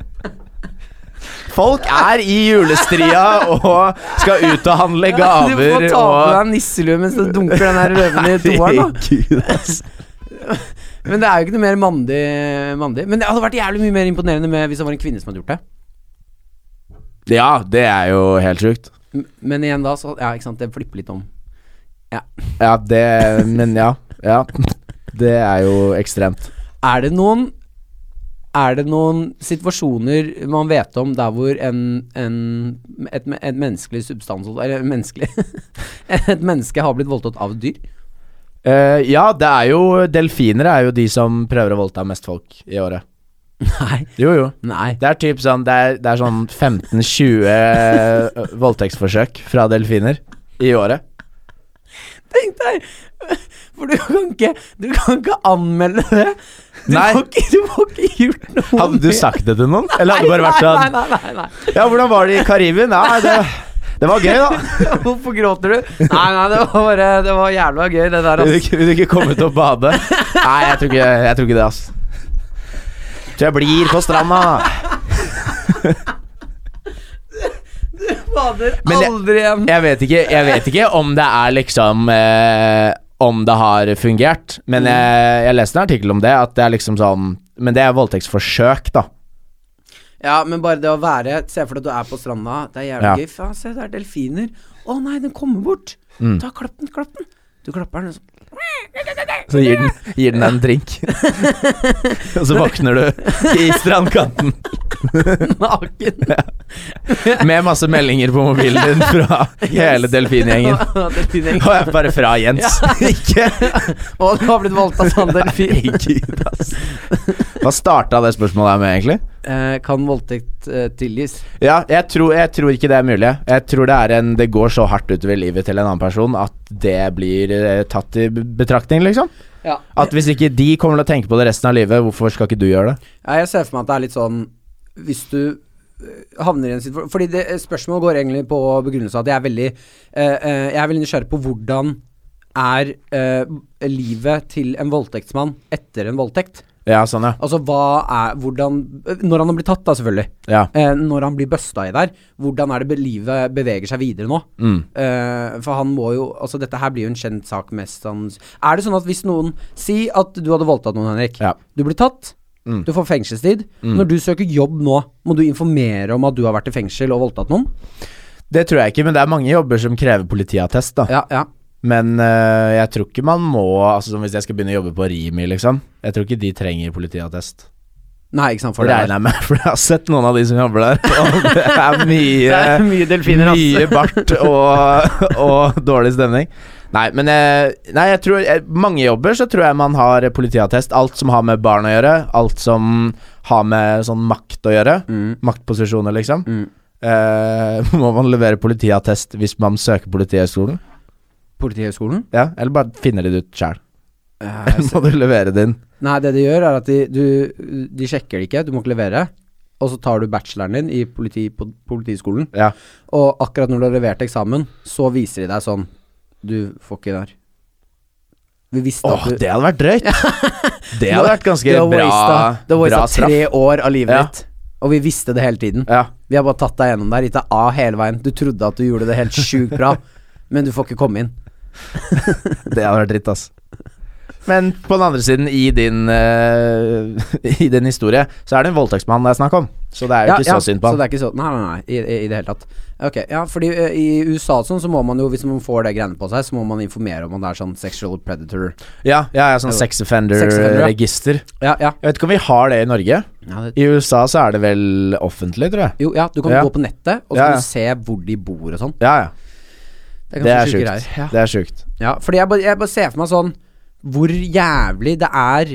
Speaker 1: Folk er i julestria og skal ut og handle
Speaker 2: Du
Speaker 1: gaver
Speaker 2: får ta på
Speaker 1: og
Speaker 2: deg nisselue mens du dunker den her løven i toeren, da.
Speaker 1: Herregud, ass.
Speaker 2: Men det er jo ikke noe mer mandig, mandig. Men det hadde vært jævlig mye mer imponerende med hvis det var en kvinne som hadde gjort det.
Speaker 1: Ja, det er jo helt sjukt.
Speaker 2: M- Men igjen da, så Ja, ikke sant, det flipper litt om. Ja.
Speaker 1: Ja, det Men ja. Ja. Det er jo ekstremt.
Speaker 2: Er det noen Er det noen situasjoner man vet om der hvor en, en et, me- et menneskelig substans Eller menneskelig Et menneske har blitt voldtatt av et dyr?
Speaker 1: Eh, ja, det er jo Delfiner er jo de som prøver å voldta mest folk i året.
Speaker 2: Nei.
Speaker 1: Jo, jo.
Speaker 2: Nei.
Speaker 1: Det er typ sånn Det er, det er sånn 15-20 voldtektsforsøk fra delfiner i året.
Speaker 2: Tenk deg! For du kan ikke Du kan ikke anmelde det. Du
Speaker 1: Nei.
Speaker 2: får ikke, du får ikke gjort noe
Speaker 1: Hadde du
Speaker 2: med-
Speaker 1: sagt det til noen? Eller hadde det bare vært
Speaker 2: Nei,
Speaker 1: sånn
Speaker 2: nei, nei, nei, nei.
Speaker 1: Ja, hvordan var det i Karibien? Ja, det, det var gøy, da.
Speaker 2: Hvorfor gråter du? Nei, nei, det var bare Det var jævla gøy, det der,
Speaker 1: Vil du,
Speaker 2: ass.
Speaker 1: ikke- vil du ikke komme ut og bade? Nei, jeg tror ikke, jeg tror ikke det, ass. Tror jeg blir på stranda.
Speaker 2: Fader,
Speaker 1: Men det-
Speaker 2: aldri igjen.
Speaker 1: Jeg vet ikke, jeg vet ikke om det er liksom eh, Om det har fungert. Men jeg, jeg leste en artikkel om det, at det er liksom sånn Men det er voldtektsforsøk, da.
Speaker 2: Ja, men bare det å være Se for deg at du er på stranda, det er jævlig
Speaker 1: Ja.
Speaker 2: gøy. Faen, se, det er delfiner. Å nei, den kommer bort.
Speaker 1: Mm.
Speaker 2: Ta klapp den, klapp den. Du klapper den, og så
Speaker 1: Så gir den, gir den deg en drink. og så våkner du i strandkanten
Speaker 2: naken.
Speaker 1: med masse meldinger på mobilen din fra hele delfingjengen.
Speaker 2: Delfingjengen.
Speaker 1: Og jeg er bare fra Jens. Ikke
Speaker 2: Å, du har blitt voldtatt av en delfin.
Speaker 1: Herregud, ass. Hva starta det spørsmålet her med, egentlig?
Speaker 2: Eh, kan voldtekt eh, tilgis?
Speaker 1: Ja, jeg tror, jeg tror ikke det er mulig. Jeg tror det er en Det går så hardt utover livet til en annen person at det blir eh, tatt i betraktning, liksom.
Speaker 2: Ja.
Speaker 1: At hvis ikke de kommer til å tenke på det resten av livet, hvorfor skal ikke du gjøre det?
Speaker 2: Ja, jeg ser for meg at det er litt sånn Hvis du øh, havner i en situasjon Fordi det, spørsmålet går egentlig på begrunnelsen at jeg er veldig, øh, øh, jeg er veldig nysgjerrig på hvordan er øh, livet til en voldtektsmann etter en voldtekt?
Speaker 1: Ja, sånn, ja.
Speaker 2: Altså hva er Hvordan øh, Når han har blitt tatt, da, selvfølgelig.
Speaker 1: Ja.
Speaker 2: Eh, når han blir busta i der, hvordan er det be livet beveger seg videre nå?
Speaker 1: Mm.
Speaker 2: Eh, for han må jo Altså, dette her blir jo en kjent sak, mest sanns... Er det sånn at hvis noen Si at du hadde voldtatt noen, Henrik.
Speaker 1: Ja.
Speaker 2: Du blir tatt.
Speaker 1: Mm.
Speaker 2: Du får fengselstid. Når du søker jobb nå, må du informere om at du har vært i fengsel og voldtatt noen?
Speaker 1: Det tror jeg ikke, men det er mange jobber som krever politiattest, da.
Speaker 2: Ja, ja.
Speaker 1: Men øh, jeg tror ikke man må Altså som Hvis jeg skal begynne å jobbe på Rimi, liksom. Jeg tror ikke de trenger politiattest.
Speaker 2: Nei, ikke sant. For
Speaker 1: For
Speaker 2: det
Speaker 1: regner
Speaker 2: der.
Speaker 1: jeg med, for jeg har sett noen av de som jobber der, og det er mye
Speaker 2: mye
Speaker 1: Mye bart og, og dårlig stemning. Nei, men eh, nei, jeg tror eh, mange jobber så tror jeg man har eh, politiattest. Alt som har med barn å gjøre, alt som har med sånn makt å gjøre.
Speaker 2: Mm.
Speaker 1: Maktposisjoner, liksom.
Speaker 2: Mm.
Speaker 1: Eh, må man levere politiattest hvis man søker Politihøgskolen?
Speaker 2: Politihøgskolen?
Speaker 1: Ja, eller bare finner de det ut sjæl?
Speaker 2: Eh,
Speaker 1: Eller må du levere det inn?
Speaker 2: nei, det de gjør, er at de, du, de sjekker det ikke, du må ikke levere. Og så tar du bacheloren din i politi, på politiskolen,
Speaker 1: Ja.
Speaker 2: og akkurat når du har levert eksamen, så viser de deg sånn Du får ikke der. Vi visste
Speaker 1: Åh,
Speaker 2: at du
Speaker 1: det hadde vært drøyt! Det hadde vært
Speaker 2: Du
Speaker 1: ganske
Speaker 2: har
Speaker 1: bra,
Speaker 2: wastet- Du har
Speaker 1: bra
Speaker 2: wastet
Speaker 1: straff.
Speaker 2: tre år av livet
Speaker 1: Ja.
Speaker 2: ditt, og vi visste det hele tiden.
Speaker 1: Ja.
Speaker 2: Vi har bare tatt deg gjennom der, gitt deg A hele veien. Du trodde at du gjorde det helt sjukt bra, men du får ikke komme inn.
Speaker 1: Det hadde vært dritt, ass. Men på den andre siden, i din, eh, i din historie, så er det en voldtektsmann det er snakk om. Så det er jo ikke så synd på
Speaker 2: Så
Speaker 1: han.
Speaker 2: det er ikke så Nei, nei, nei, i, i, i det hele tatt. Ok, ja, fordi eh, i USA og sånn, så må man jo, hvis man får det greiene på seg, så må man informere om at det er sånn sexual predator.
Speaker 1: Ja, ja, ja sånn
Speaker 2: Jo.
Speaker 1: sex
Speaker 2: Sex offender, ja.
Speaker 1: offender-register.
Speaker 2: Ja, ja.
Speaker 1: Jeg vet ikke om vi har det i Norge.
Speaker 2: ja det,
Speaker 1: I USA så er det vel offentlig, tror jeg.
Speaker 2: jo, ja, du kan
Speaker 1: Ja.
Speaker 2: gå på nettet, og så
Speaker 1: Ja,
Speaker 2: kan
Speaker 1: ja.
Speaker 2: du se hvor de bor og sånn.
Speaker 1: Ja, ja.
Speaker 2: Det
Speaker 1: Det
Speaker 2: ganske
Speaker 1: er
Speaker 2: sjuke
Speaker 1: sjukt.
Speaker 2: greier. Ja.
Speaker 1: Det er sjukt.
Speaker 2: Ja, fordi jeg bare, jeg bare ser for meg sånn Hvor jævlig det er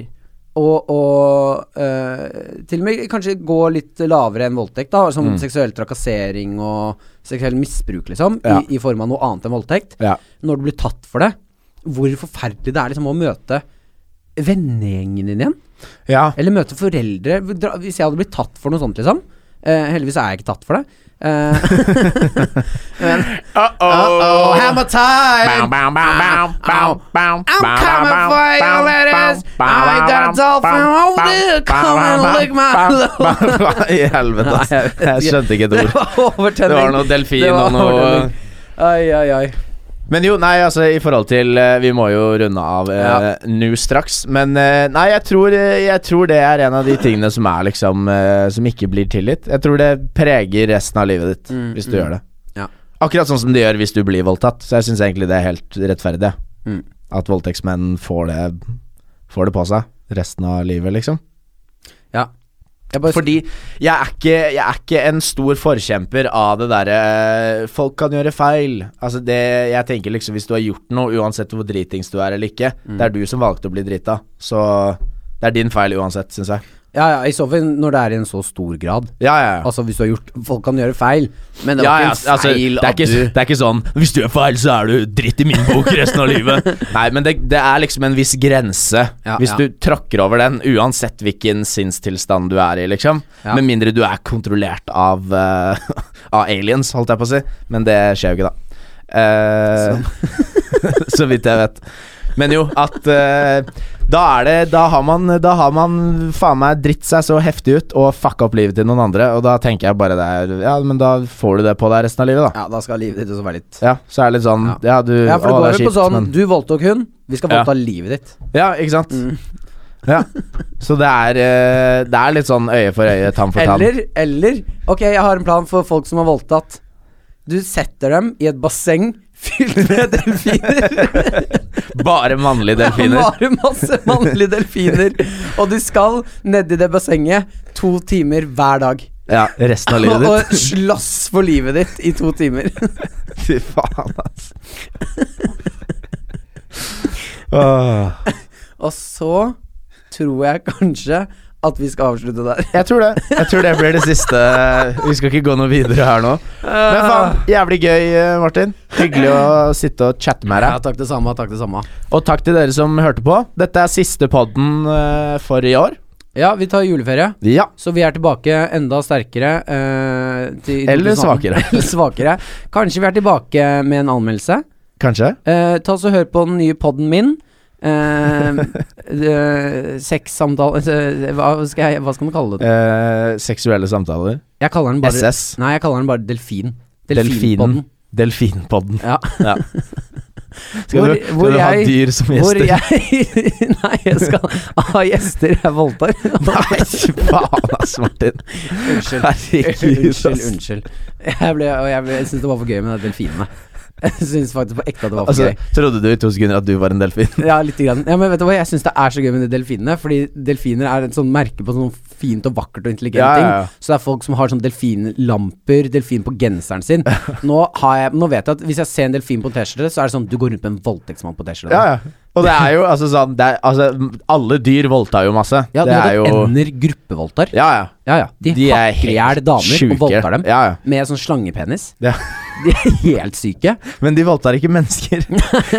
Speaker 2: å, å øh, til og med kanskje gå litt lavere enn voldtekt, da. Som
Speaker 1: Mm.
Speaker 2: seksuell trakassering og seksuell misbruk, liksom.
Speaker 1: Ja.
Speaker 2: I, I form av noe annet enn voldtekt.
Speaker 1: Ja.
Speaker 2: Når du blir tatt for det. Hvor forferdelig det er liksom å møte vennegjengen din igjen.
Speaker 1: ja.
Speaker 2: Eller møte foreldre. Dra- Hvis jeg hadde blitt tatt for noe sånt, liksom. Eh, heldigvis er jeg ikke tatt for det. Eh,
Speaker 1: Uh-oh,
Speaker 2: hammer time! bow, I'm coming for you, ladies. I got a dolphin over there. Come and lick my
Speaker 1: Hva i helvete, ass.
Speaker 2: Nei, jeg vet
Speaker 1: Jeg skjønte ikke et
Speaker 2: Det
Speaker 1: ord.
Speaker 2: var overtenning.
Speaker 1: Det var noe delfin
Speaker 2: Det var
Speaker 1: og noe
Speaker 2: overtenning. Ai, ai, ai.
Speaker 1: Men jo, nei, altså i forhold til eh, Vi må jo runde av eh,
Speaker 2: Ja.
Speaker 1: nå straks. Men eh, nei, jeg tror, eh, jeg tror det er en av de tingene som er liksom eh, Som ikke blir tilgitt. Jeg tror det preger resten av livet ditt hvis du gjør det.
Speaker 2: Mm, Ja.
Speaker 1: Akkurat sånn som de gjør hvis du blir voldtatt. Så jeg syns egentlig det er helt rettferdig.
Speaker 2: Mm.
Speaker 1: At voldtektsmenn får det, får det på seg resten av livet, liksom.
Speaker 2: Ja. Jeg bare,
Speaker 1: Fordi jeg er, ikke, jeg er ikke en stor forkjemper av det derre eh, Folk kan gjøre feil. Altså det, jeg tenker liksom Hvis du har gjort noe, uansett hvor dritings du er eller ikke, det er du som valgte å bli drita. Så det er din feil uansett, syns jeg.
Speaker 2: ja, ja, I så fall når det er i en så stor grad.
Speaker 1: Ja, ja, ja.
Speaker 2: Altså hvis du har gjort Folk kan gjøre feil, men det
Speaker 1: ja,
Speaker 2: var
Speaker 1: ja,
Speaker 2: ikke en
Speaker 1: altså,
Speaker 2: feil
Speaker 1: det, er ikke,
Speaker 2: at du
Speaker 1: det er ikke sånn Hvis du gjør feil, så er du dritt i min bok resten av livet. Nei, men det, det er liksom en viss grense.
Speaker 2: Ja,
Speaker 1: hvis
Speaker 2: ja.
Speaker 1: du tråkker over den, uansett hvilken sinnstilstand du er i, liksom.
Speaker 2: Ja.
Speaker 1: Med mindre du er kontrollert av, eh, av aliens, holdt jeg på å si. Men det skjer jo ikke, da. Eh, så vidt jeg vet. Men jo, at eh, da er det Da har man, da har man faen meg dritt seg så heftig ut og fucka opp livet til noen andre, og da tenker jeg bare det er Ja, men da får du det på deg resten av livet, da.
Speaker 2: Ja, da skal livet ditt også være litt
Speaker 1: Ja, så er det litt sånn
Speaker 2: Ja.
Speaker 1: Ja, du
Speaker 2: Ja, for det
Speaker 1: å,
Speaker 2: går
Speaker 1: er
Speaker 2: jo på
Speaker 1: kjipt,
Speaker 2: sånn
Speaker 1: men-
Speaker 2: Du voldtok hun, vi skal
Speaker 1: Ja.
Speaker 2: voldta livet ditt.
Speaker 1: Ja, ikke sant?
Speaker 2: Mm.
Speaker 1: Ja. Så det er eh, Det er litt sånn øye for øye, tann for tann.
Speaker 2: Eller, eller Ok, jeg har en plan for folk som har voldtatt. Du setter dem i et basseng fylt med delfiner.
Speaker 1: Bare mannlige delfiner.
Speaker 2: Bare masse mannlige delfiner. Og du skal nedi det bassenget to timer hver dag.
Speaker 1: Ja, resten av livet
Speaker 2: Og,
Speaker 1: ditt.
Speaker 2: og slåss for livet ditt i to timer.
Speaker 1: Fy faen, ass. Åh.
Speaker 2: Og så tror jeg kanskje at vi skal avslutte der.
Speaker 1: Jeg tror det. Jeg tror det blir det siste. Vi skal ikke gå noe videre her nå. Men faen, jævlig gøy, eh, Martin. Hyggelig å sitte og chatte med
Speaker 2: Ja,
Speaker 1: deg.
Speaker 2: takk det samme. Takk det samme.
Speaker 1: Og takk til dere som hørte på. Dette er siste podden eh, for i år.
Speaker 2: Ja, vi tar juleferie.
Speaker 1: Ja.
Speaker 2: Så vi er tilbake enda sterkere. eh, til
Speaker 1: Eller
Speaker 2: 2018.
Speaker 1: svakere.
Speaker 2: Eller svakere. Kanskje vi er tilbake med en anmeldelse.
Speaker 1: Kanskje.
Speaker 2: Eh, ta oss og Hør på den nye podden min. Uh, Sexsamtale eh, hva, skal jeg- hva skal man kalle det?
Speaker 1: Eh, seksuelle samtaler.
Speaker 2: Jeg kaller den bare
Speaker 1: SS.
Speaker 2: Nei, jeg kaller den bare Delfin.
Speaker 1: Delfinen. Delfinpodden.
Speaker 2: Ja.
Speaker 1: Ja. Skal
Speaker 2: Hvor-
Speaker 1: du,
Speaker 2: hvor
Speaker 1: skal du ha
Speaker 2: jeg-
Speaker 1: dyr som
Speaker 2: Hvor
Speaker 1: gjester?
Speaker 2: jeg Nei, jeg skal ha gjester jeg voldtar.
Speaker 1: Nei, faen ass, Martin.
Speaker 2: Unnskyld.
Speaker 1: Herregud, ass.
Speaker 2: Unnskyld, unnskyld. Jeg, ble, og jeg, ble, jeg syns det var for gøy med de delfinene. Jeg syns faktisk på ekte at det var for
Speaker 1: Altså,
Speaker 2: gøy.
Speaker 1: trodde du i to sekunder at du var en delfin?
Speaker 2: Ja, lite grann. Ja, men vet du hva, jeg syns det er så gøy med de delfinene, fordi delfiner er et sånn merke på sånn fint og vakkert og intelligent
Speaker 1: Ja,
Speaker 2: ting.
Speaker 1: ja, ja.
Speaker 2: Så det er folk som har sånn delfinlamper, delfin på genseren sin. Nå, har jeg, nå vet jeg at hvis jeg ser en delfin på en T-skjorte, så er det sånn du går rundt med en voldtektsmann på T-skjorte.
Speaker 1: Ja, ja. Og det er jo altså sånn det er, altså, Alle dyr voldtar jo masse.
Speaker 2: Ja, du
Speaker 1: det
Speaker 2: vet
Speaker 1: er
Speaker 2: at
Speaker 1: jo
Speaker 2: ender gruppevoldtar.
Speaker 1: Ja, ja.
Speaker 2: Ja, ja. De,
Speaker 1: De er
Speaker 2: hakker i hjel
Speaker 1: helt
Speaker 2: damer
Speaker 1: sjuke.
Speaker 2: og voldtar dem
Speaker 1: Ja, ja.
Speaker 2: med sånn slangepenis.
Speaker 1: Ja.
Speaker 2: De er helt syke.
Speaker 1: Men de voldtar ikke mennesker.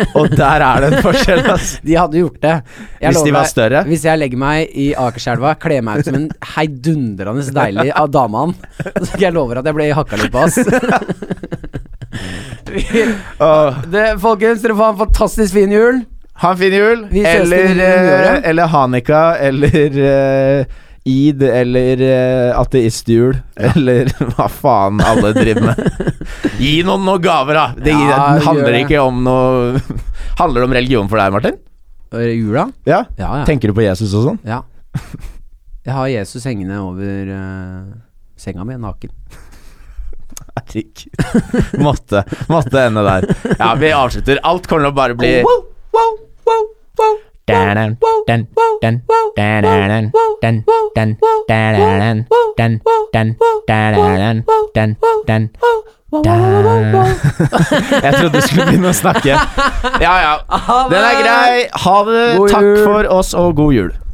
Speaker 1: og der er det en forskjell, altså.
Speaker 2: De hadde gjort det. Jeg
Speaker 1: Hvis de
Speaker 2: lover
Speaker 1: var
Speaker 2: deg,
Speaker 1: større?
Speaker 2: Hvis jeg legger meg i Akerselva, kler meg ut som en heidundrende deilig av damehann, så skal jeg love deg at jeg ble hakka litt på, ass. Vi-
Speaker 1: Åh.
Speaker 2: det, folkens, dere får ha en fantastisk fin jul.
Speaker 1: Ha en fin jul.
Speaker 2: Vi ses
Speaker 1: Eller,
Speaker 2: til nyåret.
Speaker 1: eh, eller Hanika, eller eh, Eid, eller eh, ateistjul, eller hva faen alle driver med. Gi noen noen gaver, da! Det
Speaker 2: Ja, gjør
Speaker 1: handler
Speaker 2: det.
Speaker 1: ikke om noe Handler det om religion for deg, Martin?
Speaker 2: Og Jula?
Speaker 1: Ja?
Speaker 2: Ja, ja.
Speaker 1: Tenker du på Jesus og sånn?
Speaker 2: ja. Jeg har Jesus hengende over eh, senga mi, naken.
Speaker 1: Herregud. måtte, måtte ende der. Ja, vi avslutter. Alt kommer til å bare bli
Speaker 2: Oh, Wow, wow, wow, wow,
Speaker 1: Dan, dan, dan, dan, dan, dan, dan, dan, dan, dan, dan, dan, dan, dan. Jeg trodde du skulle begynne å snakke. Ja, ja. Den er grei. Ha det.
Speaker 2: God
Speaker 1: Takk
Speaker 2: jul.
Speaker 1: for oss, og god jul.